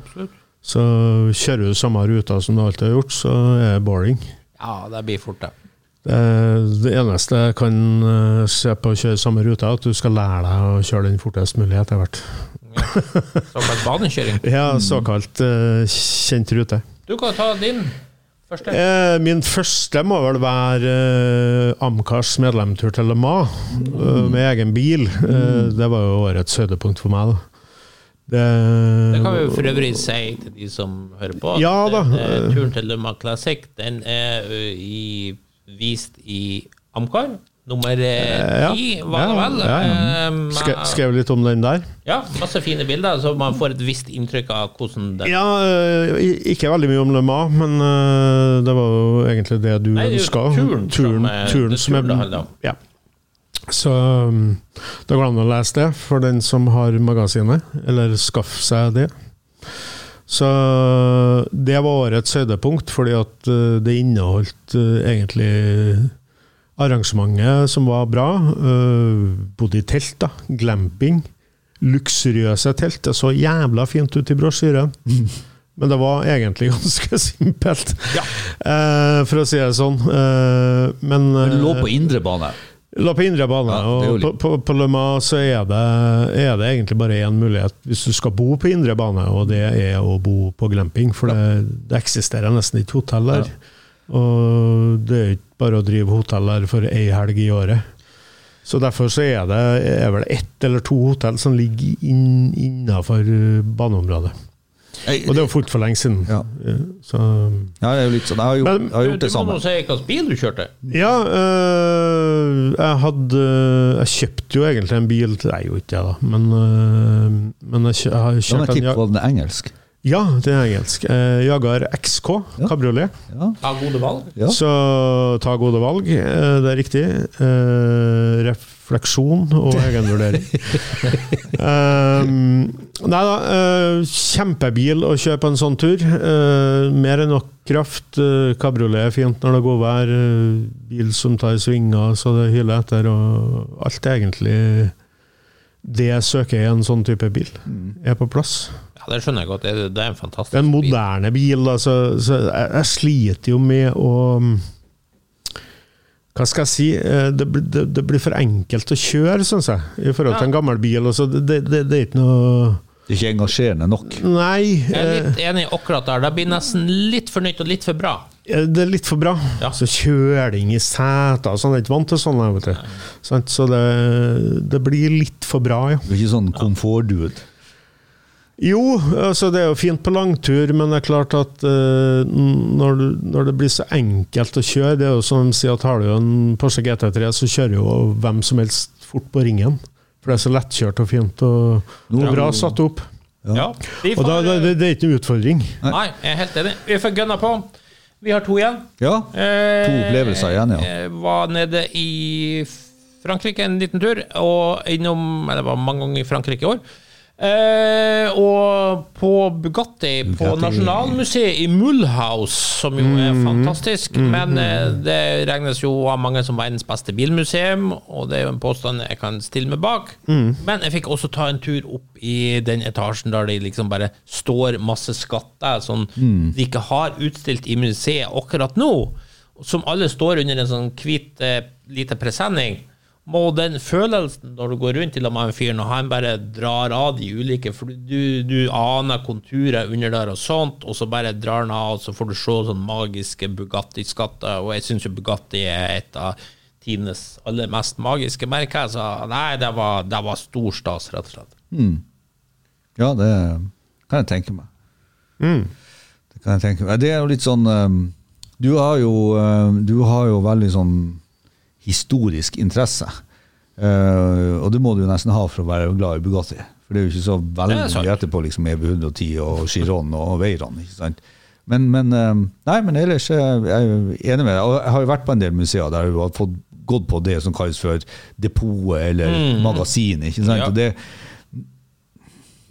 C: Absolutt.
E: Så kjører du samme ruta som du alltid har gjort, så er det boring.
C: Ja, det blir fort, det.
E: Det, det eneste jeg kan eh, se på å kjøre samme ruta, er at du skal lære deg å kjøre den fortest mulig etter hvert.
C: Såkalt banekjøring.
E: Ja, såkalt eh, kjent rute.
C: Du kan ta din første.
E: Eh, min første må vel være eh, Amcars medlemtur til Le Mans, eh, med egen bil. Eh, det var jo årets høydepunkt for meg, da. Det,
C: Det kan vi jo for øvrig si til de som hører på. at
E: Ja da.
C: den, eh, Turen til Luma Classic den er ø, i, vist i Amcar. Nummer eh,
E: ja.
C: ti, var det
E: Ja,
C: vel?
E: ja, ja.
C: Eh, men-
E: Skre, skrev litt om den der.
C: ja, masse fine bilder, så man får et visst inntrykk av hvordan det
E: Ja, eh, i- ikke veldig mye om Le Mans, men eh, det var jo egentlig det du
C: Nei, det er jo
E: ønska.
C: turen som er- det er turen det handler om.
E: Ja. Så um, det går an å lese det for den som har magasinet, eller skaff seg det. Så det var årets høydepunkt, fordi at eh, det inneholdt eh, egentlig arrangementet som var bra. eh, bodde i telt, da. Glamping. Luksuriøse telt. Det så jævla fint ut i brosjyren. Men det var egentlig ganske simpelt,
C: Ja.
E: eh, for å si det sånn. Eh, men
D: Men du lå
E: eh,
D: på indre bane.
E: La på indre bane.
D: Ja, det er jo
E: og på,
D: litt-
E: på, på Le Mans så er det, er det egentlig bare én mulighet hvis du skal bo på indre bane, og det er å bo på glamping. For det, det eksisterer nesten ikke hotell der. Og det er jo ikke bare å drive hotell der for ei helg i året. Så derfor så er det er vel ett eller to hotell som ligger inn, innafor baneområdet. Og det er jo fort for lenge siden.
D: Ja.
E: Så
D: Ja, det er jo litt sånn. Jeg har gjort,
E: Men-
D: jeg har
C: Du,
D: gjort det
C: du må
D: samme.
C: nå si hvilken bil du kjørte.
E: Ja, øh, jeg hadde eh, Jeg kjøpte jo egentlig en bil til Nei, jo ikke jeg, da, men, øh, men jeg, kjø- jeg
D: Ja,
E: har
D: men
E: kjørt
D: jeg
E: en
D: tipper
E: ja,
D: på den er engelsk.
E: ja, det er engelsk. Eh, Jagar XK
D: Ja.
E: kabriolet.
D: Ja.
C: Ta gode valg.
D: Ja.
E: Så ta gode valg, eh, det er riktig. Eh, refleksjon og egenvurdering. um, nei da, eh, kjempebil å kjøpe en sånn tur. Eh, mer enn nok kraft. Eh, Kabriolet er fint når det er godvær. Eh, bil som tar svinger så det hyler etter. Og alt er egentlig det jeg søker i en sånn type bil. Er på plass.
C: Ja, Det skjønner jeg godt. Det, det er en fantastisk
E: Det er en
C: bil.
E: moderne bil, da, så, så jeg, jeg sliter jo med å Hva skal jeg si? Eh, Det, blir- det, det blir for enkelt å kjøre, syns jeg, i forhold til en gammel bil. og så det, det, det, det er ikke noe
D: Det er ikke engasjerende nok.
E: Nei,
C: Jeg er
E: eh,
C: litt enig akkurat der. Det blir nesten litt for nytt og litt for bra.
E: eh, det er litt for bra.
C: Ja.
E: Så kjøling i seter og sånn, jeg er ikke vant til sånn. jeg, Vet du. Sant? Så det, det blir litt for bra, ja.
D: Du er ikke sånn komfortdude.
E: Jo, altså det er jo fint på langtur, men det er klart at eh, når, du, når det blir så enkelt å kjøre Det er jo som de sier at har du en Porsche GT3, så kjører jo hvem som helst fort på ringen. For det er så lettkjørt og fint og, og bra satt opp.
C: Ja. Vi
E: Og
C: får,
E: da, da, det, det er ikke noen utfordring.
C: Nei, jeg er helt enig. Vi får gønna på. Vi har to igjen.
D: Ja.
C: Eh,
D: To opplevelser igjen, ja.
C: Jeg var nede i Frankrike en liten tur, og innom Eller det var mange ganger i Frankrike i år. Eh, og på Bugatti, på
D: Bugatti. Mm.
C: Nasjonalmuseet i Mulhouse, som jo er fantastisk.
D: Mm-hmm.
C: Men eh, det regnes jo av mange som verdens beste bilmuseum, og det er jo en påstand jeg kan stille meg bak.
D: Mm.
C: Men jeg fikk også ta en tur opp i den etasjen der de liksom bare står masse skatter som
D: Mm.
C: de ikke har utstilt i museet akkurat nå som alle står under en sånn hvit eh, lite presenning, må den følelsen når du går rundt til og med en fyr, når han bare drar av de ulike For du, du aner konturer under der og sånt, og så bare drar han av, og så får du se sånn magiske Bugatti-skatter, og jeg syns jo Bugatti er et av tidenes aller mest magiske merker, så nei, det var, det var stor stas, rett og slett.
D: Ja, det kan jeg tenke meg.
C: Mm.
D: Det kan jeg tenke meg. Det er jo litt sånn um, Du har jo, um, du har jo veldig sånn historisk interesse. Eh, og det må du jo nesten ha for å være glad i Bugatti. For det er jo ikke så veldig
C: Det er sant.
D: mye etterpå, liksom EB110 og Chiron og Veyron. ikke sant? Men, men, um, nei, men ellers eh, jeg er jo enig med deg. Og jeg har jo vært på en del museer der du har fått gått på det som kalles for depotet eller magasinet. ikke sant?
C: Mm. Ja.
D: Og det,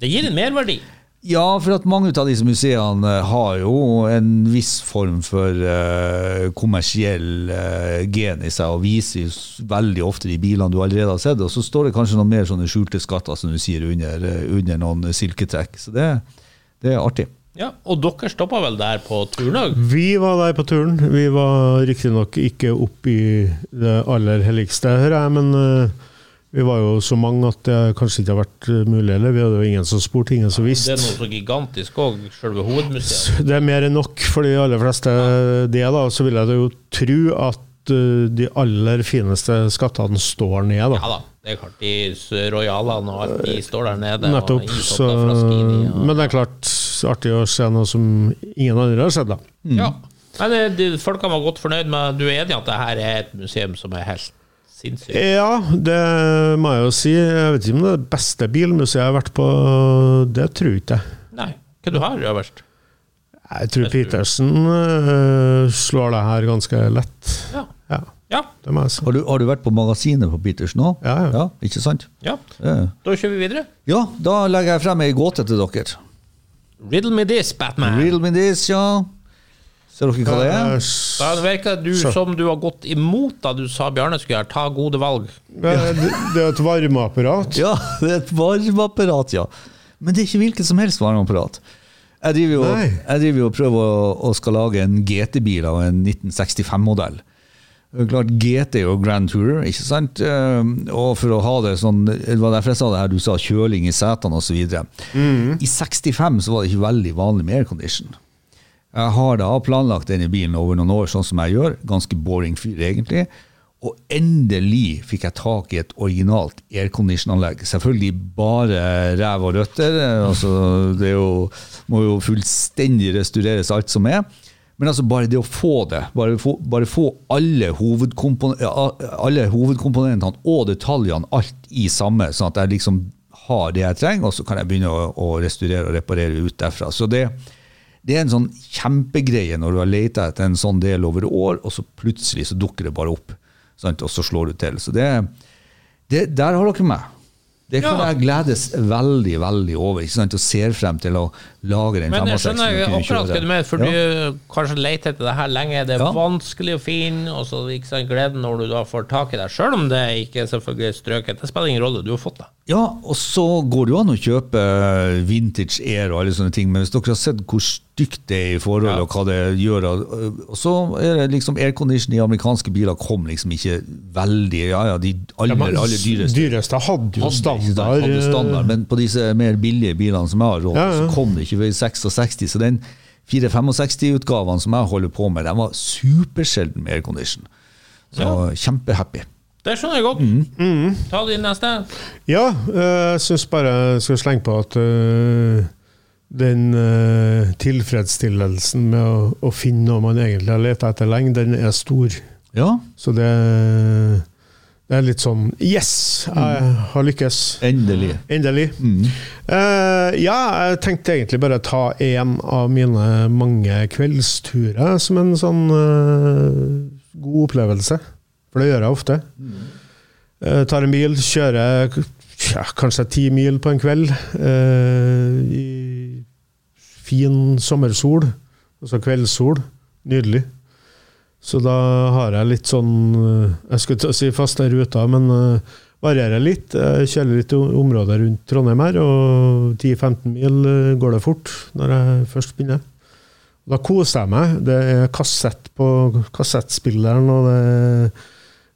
C: Det gir en merverdi.
D: ja, for at mange av disse museene eh, har jo en viss form for eh, kommersiell eh, gen i seg, og viser jo s- veldig ofte de bilene du allerede har sett. Og så står det kanskje noen mer sånne skjulte skatter, som du sier, under, eh, under noen silketrekk. Så det, det er artig.
C: Ja, og dere stoppa vel der på turen òg?
E: Vi var der på turen. Vi var riktignok ikke opp i det aller helligste, hører jeg, men eh, vi var jo så mange at det kanskje ikke har vært eh, mulig. Eller vi hadde jo ingen som spurte, ingen som
C: Det
E: visste.
C: er noe så gigantisk òg, selve hovedmuseet.
E: Det er mer enn nok for de aller fleste, det. da, Så vil jeg da jo tro at eh, de aller fineste skattene står ned,
C: Ja
E: da.
C: da, det er klart de royalene og alt de står der nede.
E: Øh, Nettopp.
C: Og
E: Så,
C: isopper fra Skini, og,
E: men det er klart artig å se noe som ingen andre har sett, da.
C: ja. Men eh, de, folkene var godt fornøyd med Du er enig i at det her er et museum som er helt sinnssykt?
E: Ja, det må jeg jo si. Jeg vet ikke om det er det beste bilmuseet jeg har vært på. Det tror ikke jeg.
C: Nei. Hva du har øverst?
E: Jeg tror Petersen øh, slår det her ganske lett.
C: Ja.
E: Ja,
C: Ja.
E: det må jeg si.
D: Har du, har du vært på magasinet på Peters nå?
E: Ja, ja.
D: Ikke sant?
C: ja.
D: Eh,
C: Da kjører vi videre.
D: Ja, da legger jeg frem ei gåte til dere.
C: Riddle me this, Batman.
D: Real Mindis, ja. Ser dere hva det er?
C: Da virker du
E: Så.
C: som du har gått imot da du sa Bjarne skulle gjøre ta gode valg.
E: Det er- det er et varmeapparat.
D: Ja, det er et varmeapparat, ja. Men det er ikke hvilket som helst varmeapparat. Jeg driver jo,
E: Nei.
D: jeg driver jo og prøver å, å skal lage en GT-bil av en 1965-modell. Klart, GT og Grand Tourer, ikke sant? Ehm, Og for å ha det sånn Det var derfor jeg sa det her, du sa kjøling i setene osv. Mm. I 65 så var det ikke veldig vanlig med aircondition. Jeg har da planlagt denne bilen over noen år, sånn som jeg gjør. Ganske boring fyr, egentlig. Og endelig fikk jeg tak i et originalt aircondition-anlegg. Selvfølgelig bare ræv og røtter. Altså, det er jo, må jo fullstendig restaureres alt som er. Men altså bare det å få det, bare få, bare få alle, hovedkompon ja, alle hovedkomponentene og detaljene, alt i samme, sånn at jeg liksom har det jeg trenger, og så kan jeg begynne å, å restaurere og reparere ut derfra. Så det, det er en sånn kjempegreie når du har leita etter en sånn del over år, og så plutselig så dukker det bare opp. Sant? Og så slår du til. Så det, det Der har dere meg. Det kan
C: Ja.
D: jeg gledes veldig veldig over. ikke sant? Og ser frem til å lage den
C: Men jeg
D: 5-6-en
C: skjønner
D: og kunne
C: akkurat
D: kjøre.
C: hva du mener, for
D: Ja.
C: du kanskje leter etter det her lenge. Det er
D: Ja.
C: vanskelig å finne, og så ikke sant, gleden når du da får tak i det. Selv om det ikke er selvfølgelig strøket. Det spiller ingen rolle, du har fått det.
D: Ja, og så går det jo an å kjøpe eh, vintage air og alle sånne ting, men hvis dere har sett hvor stygt det er i forhold,
C: Ja.
D: og hva det gjør og og Så er det liksom aircondition i amerikanske biler kom liksom ikke veldig Ja ja, de aller,
E: men
D: aller dyreste.
E: dyreste hadde jo
D: hadde ikke
E: standard.
D: standard, hadde standard, men på disse mer billige bilene som jeg har råd til,
E: Ja, ja.
D: så kom det ikke ved 66. Så den 465-utgaven som jeg holder på med, den var supersjelden med aircondition. Så kjempehappy.
C: Det skjønner jeg godt.
D: Mm.
C: Ta din neste.
E: Ja, eh, jeg syns bare jeg skal slenge på at eh, den eh, tilfredsstillelsen med å, å finne noe man egentlig har leta etter lenge, den er stor.
D: Ja,
E: Så det, det er litt sånn Yes,
D: Mm.
E: jeg har lykkes.
D: endelig.
E: Endelig. Eh, ja, jeg tenkte egentlig bare ta én av mine mange kveldsturer som en sånn eh, god opplevelse. For det gjør jeg ofte. Eh, tar en bil, kjører k- tja, kanskje ti mil på en kveld eh, i fin sommersol, altså kveldssol. Nydelig. Så da har jeg litt sånn eh, Jeg skulle til å si faste ruter, men eh, varierer litt. Jeg kjører litt i områder rundt Trondheim her, og 10-15 mil eh, går det fort når jeg først begynner. Da koser jeg meg. Det er kassett på kassettspilleren, og det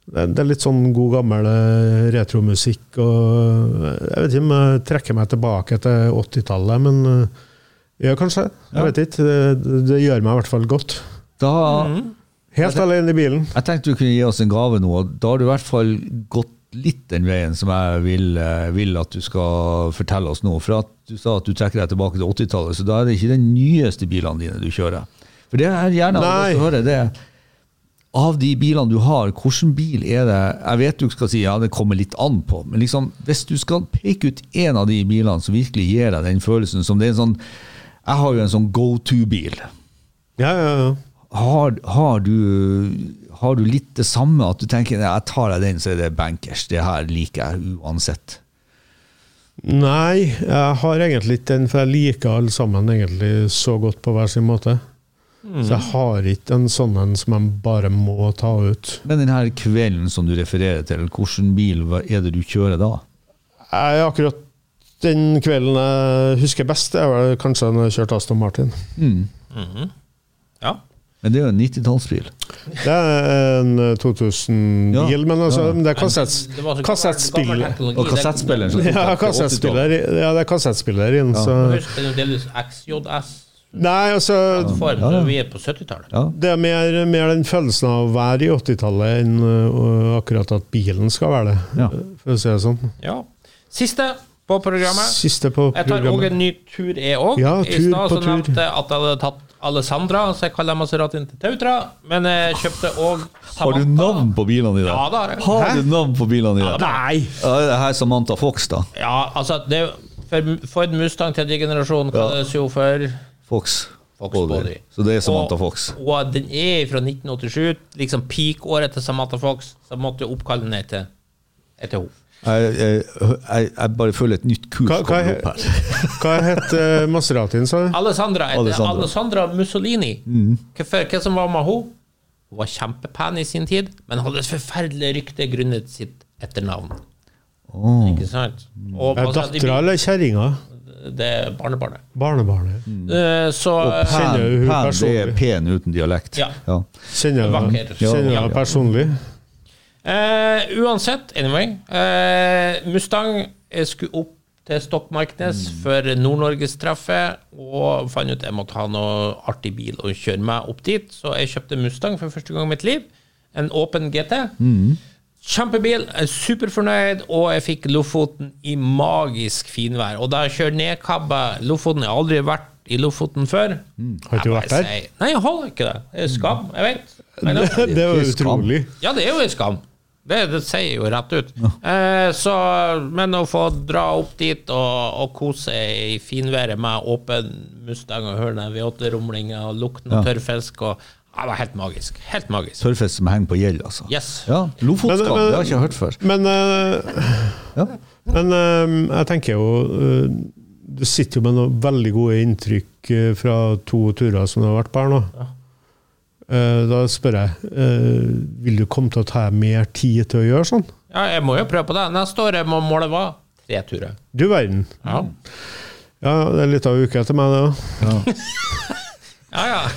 E: det det er litt sånn god gammel eh, retromusikk og eh, Jeg vet ikke om jeg trekker meg tilbake til 80-tallet, men eh, gjør kanskje det.
D: Ja.
E: Jeg vet ikke. Det, det gjør meg i hvert fall godt.
D: Da
E: Helt alene i bilen.
D: Jeg tenkte du kunne gi oss en gave nå. og Da har du i hvert fall gått litt den veien som jeg vil, eh, vil at du skal fortelle oss nå. For at du sa at du trekker deg tilbake til 80-tallet, så da er det ikke den nyeste bilene dine du kjører. For det er gjerne
E: Nei.
D: å høre det. er, Av de bilene du har, hvilken bil er det Jeg vet du skal si ja, det kommer litt an på, men liksom, hvis du skal peke ut én av de bilene som virkelig gir deg den følelsen som det er en sånn Jeg har jo en sånn go to-bil.
E: Ja, ja, ja.
D: Har, har, du, har du litt det samme, at du tenker «Nei, jeg tar deg den, så er det bankers. Det her liker jeg uansett.
E: Nei, jeg har egentlig ikke den, for jeg liker alle sammen egentlig så godt på hver sin måte. Så jeg har ikke en sånn en som jeg bare må ta ut.
D: Men den her kvelden som du refererer til, hvilken bil hva er det du kjører da?
E: Jeg, akkurat den kvelden jeg husker best, det er vel kanskje når jeg kjørte Aston Martin.
C: Ja.
D: Men det er jo en 90-tallsbil.
E: Det er en eh, 2000-bil,
D: Ja,
E: men altså,
D: ja.
E: men det er kassett,
C: Det var så gammel- gammel
E: kassettspiller.
C: teknologi.
D: Og kassettspilleren som tok
E: Ja,
D: deg til 80-tallet.
E: kassettspiller, ja, det er kassettspiller inn, så
C: Det- Husk, det er jo delvis XJS-form.
E: Nei, altså
D: Ja, ja.
C: Vi er på 70-tallet.
D: Ja.
E: Det er mer, mer den følelsen av å være i 80-tallet enn øh, akkurat at bilen skal være det,
D: Ja.
E: for å si det sånn.
C: Ja. Siste på programmet.
E: Siste på
C: Jeg tar òg
E: programmet.
C: en ny tur, jeg òg.
E: Ja,
C: I
E: tur
C: stad
E: på
C: så
E: tur.
C: nevnte jeg at jeg hadde tatt Alessandra, så jeg kaller Maseratien til Tautra. Men jeg kjøpte òg
D: Har du navn på bilene dine?
C: Ja, det har jeg.
D: Har du navn på bilene dine?
E: Nei!
D: Ja, det her er Samantha Fox, da.
C: Ja, altså det, er jo- for Ford Mustang tredje generasjon kalles jo for
D: Fox.
C: Fox
D: Body.
C: Body.
D: Så det er Samantha
C: Og-
D: Fox.
C: Og den er fra 1987, liksom peak-året til Samantha Fox, så jeg måtte jo oppkalle den etter, etter henne.
D: Jeg, jeg, jeg, jeg bare føler et nytt kurs
E: Hva, hva,
D: kommer opp her.
E: hva het uh, Maseratien, sa du?
C: Alessandra heter Alessandra,
D: Alessandra.
C: Mussolini. Hva, for, hva som var med henne? Hun var kjempepen i sin tid, men hadde et forferdelig rykte grunnet sitt etternavn. Ikke sant? Og,
E: Er
C: altså, de-
E: dattera eller kjerringa?
C: det er barnebarnet.
E: Barnebarnet.
C: Eh, så
E: Kjenner
D: Pen,
E: du
D: pen
E: hun
D: det er
E: personlig?
D: pen uten dialekt.
C: Ja.
E: Kjenner du
C: Vakker.
E: henne Kjenner du
C: Ja.
E: henne personlig?
C: eh, Uansett, anyway. Eh, Mustang jeg skulle opp til Stokmarknes
E: Mm.
C: for Nord-Norgestreffet og fant ut jeg måtte ha noe artig bil og kjøre meg opp dit, så jeg kjøpte Mustang for første gang i mitt liv. En åpen GT.
E: Mm.
C: Kjempebil, jeg er superfornøyd, og jeg fikk Lofoten i magisk finvær. Og da jeg kjører ned Kabba Lofoten Jeg har aldri vært i Lofoten før.
E: Har ikke
C: Jeg
E: du
C: bare
E: Mm. vært der?
C: sier- Nei, jeg har ikke det. Det er skam, jeg vet. Men,
E: Det er jo
D: ikke skam.
E: utrolig.
C: ja, det er jo en skam. Det, det sier jo rett ut. Eh, så, men å få dra opp dit og, og kose seg i finværet med åpen Mustang og høre den V8-rumlinga og lukten av tørrfisk og ja, Det var helt magisk. Helt magisk.
D: Tørrfisk som henger på gjeld, altså.
C: Yes.
D: Ja, Lofotskap,
E: Men-
D: det
E: men-
D: har jeg ikke hørt før.
E: Men, eh,
D: Ja.
E: men eh, jeg tenker jo eh, Du sitter jo med noen veldig gode inntrykk eh, fra to turer som du har vært på her nå. Eh, Da spør jeg eh, Vil du komme til å ta deg mer tid til å gjøre sånn?
C: Ja, jeg må jo prøve på det. Neste år må målet være tre turer.
E: Du verden.
C: Ja.
E: Ja, det er litt av uke etter meg, det òg.
C: ja, ja.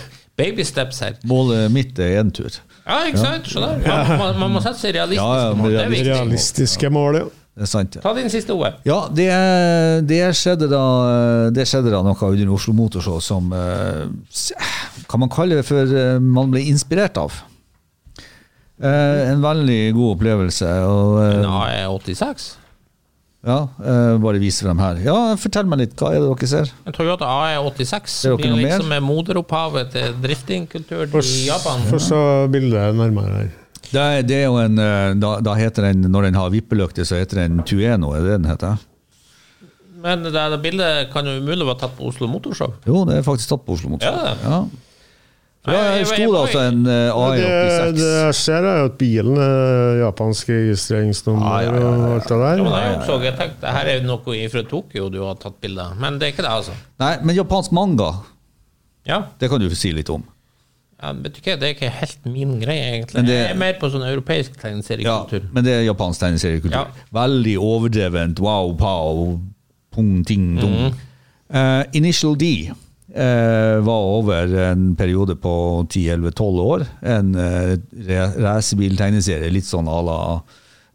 C: Baby steps her.
D: Målet mitt er én tur.
C: Ja, ikke sant? Skjønner du? Man, man, man må sette seg
D: Ja, ja,
C: realistiske mål. Det er viktig.
E: Realistiske mål, ja.
D: Det er sant, ja.
C: Ta din siste OL.
D: Ja, det, det, skjedde da, det skjedde da noe under Oslo Motorshow som eh, s- Kan man kalle det for eh, man ble inspirert av? Eh, en veldig god opplevelse. Og, eh,
C: Nå er jeg 86.
D: ja, eh, bare vise dem her. Ja, Fortell meg litt, hva er det dere ser?
C: En Toyota AE86
D: Det er jo ikke
C: blir
D: noe mer.
C: liksom er moderopphavet til driftingkulturen
E: Få
C: i Japan.
E: se bildet nærmere her.
D: Det, er- det er jo en, eh, da, da heter den, Når den har vippelykte, så heter den Tueno, er det den heter?
C: Men det der bildet kan jo umulig være tatt på Oslo Motorshow.
D: Jo, det er faktisk tatt på Oslo Motorshow.
C: Ja.
D: Ja. For
C: Nei,
D: Der
C: jeg-
D: sto
C: jeg-
D: det altså en eh,
E: Det,
D: AE86.
E: det jeg ser, er jo at bilen er japansk registreringsnummer
D: Ja, ja, ja, ja, ja.
E: og alt det
C: Ja,
E: der.
C: men jeg oppså, jeg tenkte, det her er jo noe fra Tokyo du har tatt bilde av, men det er ikke det, altså.
D: Nei, men japansk manga,
C: Ja,
D: det kan du si litt om.
C: ja vet du ikke, Det er ikke helt min greie, egentlig.
D: Men det-
C: Jeg er mer på sånn europeisk
D: Ja,
C: tegneseriekultur.
D: men det er japansk tegneseriekultur.
C: Ja.
D: Veldig overdrevent. Wow, pow, pung, ting, dong. Eh, Initial D eh, var over en periode på 10-11-12 år. En uh, racerbiltegneserie, litt sånn à la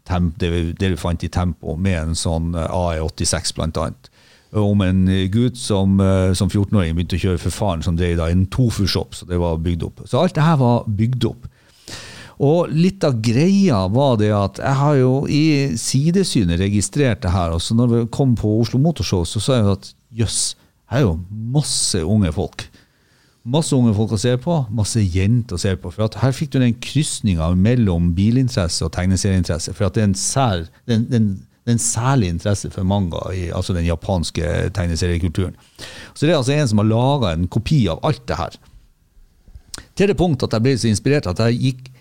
D: temp, det, vi- det du fant i Tempo, med en sånn eh, AE86 blant annet. Om en eh, gutt som, eh, som 14-åring begynte å kjøre for faren, som drev da en tofu-shop. Så det var bygd opp. Så alt det her var bygd opp. Og litt av greia var det at jeg har jo i sidesynet registrert det her. Og så når vi kom på Oslo Motorshow, så sa jeg jo at jøss, her er jo masse unge folk. Masse unge folk å se på, masse jenter å se på. For at her fikk du den krysninga mellom bilinteresse og tegneserieinteresse. For at det er en, sær, det er en, det er en, det er en særlig interesse for manga, i, altså den japanske tegneseriekulturen. Så det er altså en som har laga en kopi av alt det her. Til det punkt at jeg ble så inspirert at jeg gikk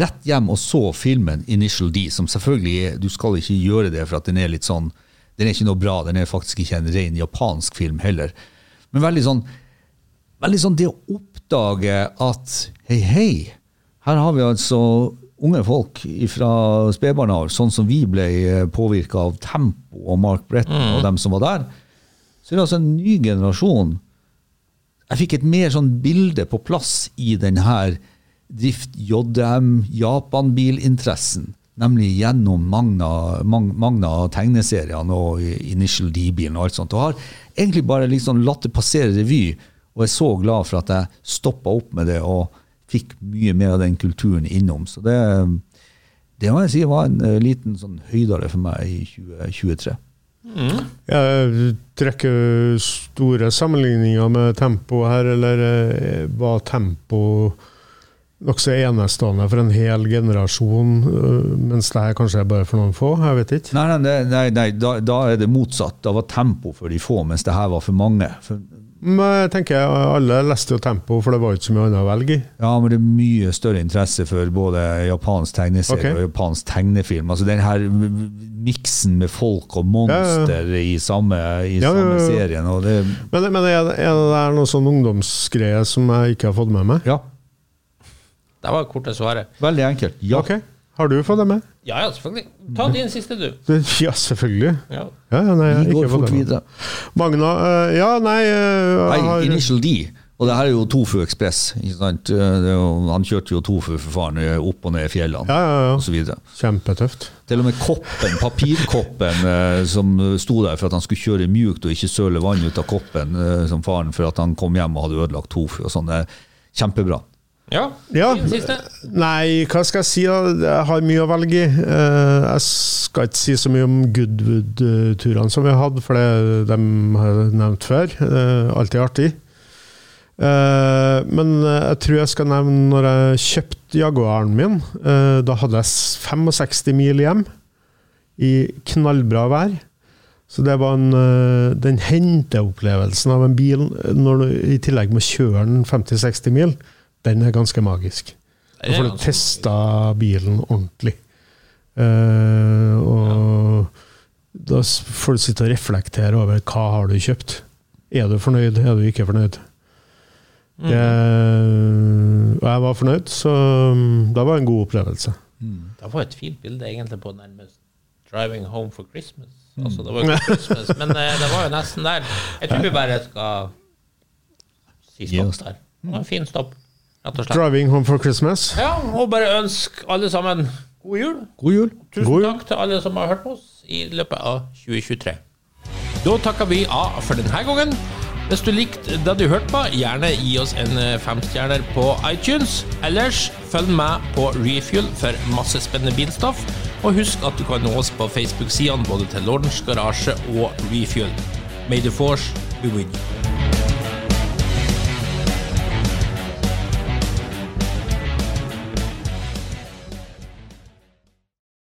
D: rett hjem og så filmen Initial D, som selvfølgelig er, du skal ikke gjøre det, for at den er litt sånn, den er ikke noe bra, den er faktisk ikke en ren japansk film heller. Men veldig sånn, veldig sånn det å oppdage at, hei, hei, her har vi altså unge folk fra spedbarnår, sånn som vi ble påvirket av Tempo og Mark Bretton og dem som var der, så er det altså en ny generasjon jeg fikk et mer sånn bilde på plass i den her Drift JM Japan-bilinteressen, nemlig gjennom Magna, Mag- Magna tegneseriene og Initial D-bilen og alt sånt. Og har egentlig bare liksom latt det passere revy, og er så glad for at jeg stoppa opp med det og fikk mye mer av den kulturen innom. Så det, det må jeg si var en eh, liten sånn høydare for meg i 2023.
E: Jeg trekker store sammenligninger med tempo her, eller eh, var tempo nokså enestående for en hel generasjon, eh, mens det her kanskje er bare for noen få? Jeg vet ikke.
D: Nei, nei, nei, nei, nei da, da er det motsatt. Da var tempo for de få, mens det her var for mange. For
E: Men jeg tenker alle leste jo tempo, for det var jo ikke så mye annet å velge i.
D: Ja, men det er mye større interesse for både japansk tegneserie
E: Ok.
D: og japansk tegnefilm. Altså den her m- m- miksen med folk og monster i samme, i
E: Ja,
D: samme
E: ja, ja.
D: serien. Og det,
E: Men, men er, det- er det der noe sånn ungdomsgreie som jeg ikke har fått med meg?
D: ja,
C: Det var det korte svaret.
D: veldig enkelt. Ja.
E: Ok. Har du fått det med?
C: Ja, ja, selvfølgelig. Ta din siste, du.
E: Ja, selvfølgelig.
C: Ja.
E: Ja, ja, nei, jeg har
D: Vi
E: ikke
D: går
E: fått
D: fort
E: det med.
D: videre.
E: Magna eh, Ja, nei eh, jeg
D: Nei,
E: har-
D: Initial D. Og det her er jo Tofu Ekspress. ikke sant? Eh, Det er jo- Han kjørte jo tofu for faren opp og ned i fjellene
E: Ja, ja, ja.
D: og så videre
E: Kjempetøft.
D: Til og med koppen, papirkoppen eh, som sto der for at han skulle kjøre mjukt og ikke søle vann ut av koppen eh, som faren for at han kom hjem og hadde ødelagt tofu og sånn. Det er Kjempebra.
C: ja.
E: Ja.
C: Din siste.
E: Nei, hva skal jeg si? da? Jeg har mye å velge i. Eh, Jeg skal ikke si så mye om Goodwood-turene som vi har hatt, for det de har jeg nevnt før. Eh, Alltid artig. Eh, Men eh, jeg tror jeg skal nevne når jeg kjøpte Jaguaren min. eh, Da hadde jeg s- 65 mil hjem i knallbra vær. Så det var en, eh, den henteopplevelsen av en bil eh, når du i tillegg må kjøre den 50-60 mil, den er ganske magisk. Da
C: Det er
E: får du
C: ganske
E: testa bilen ordentlig. Eh, og da s- får du sitte og reflektere over hva har du kjøpt. Er du fornøyd, er du ikke fornøyd? Det, og jeg var fornøyd, så mm, det var en god opplevelse.
C: Det var et fint bilde egentlig på nærmest 'Driving Home for Christmas'.
D: Mm.
C: Altså, det var jo ikke Christmas, men eh, det var jo nesten der. Jeg tror vi bare skal si
D: Gi
C: stopp
D: oss.
C: der. Det var en fin stopp, rett og slett.
E: 'Driving Home for Christmas'.
C: Ja, og bare ønsk alle sammen god jul.
D: God jul.
C: Tusen
E: God jul.
C: takk til alle som har hørt på oss i løpet av 2023. Da takker vi av for denne gangen. Hvis du likte det du hørte på, gjerne gi oss en eh, femstjerner på iTunes. Ellers følg med på Refuel for masse spennende bilstoff. Og husk at du kan nå oss på Facebook-sidene både til Lordens Garasje og Refuel. May the force be with you.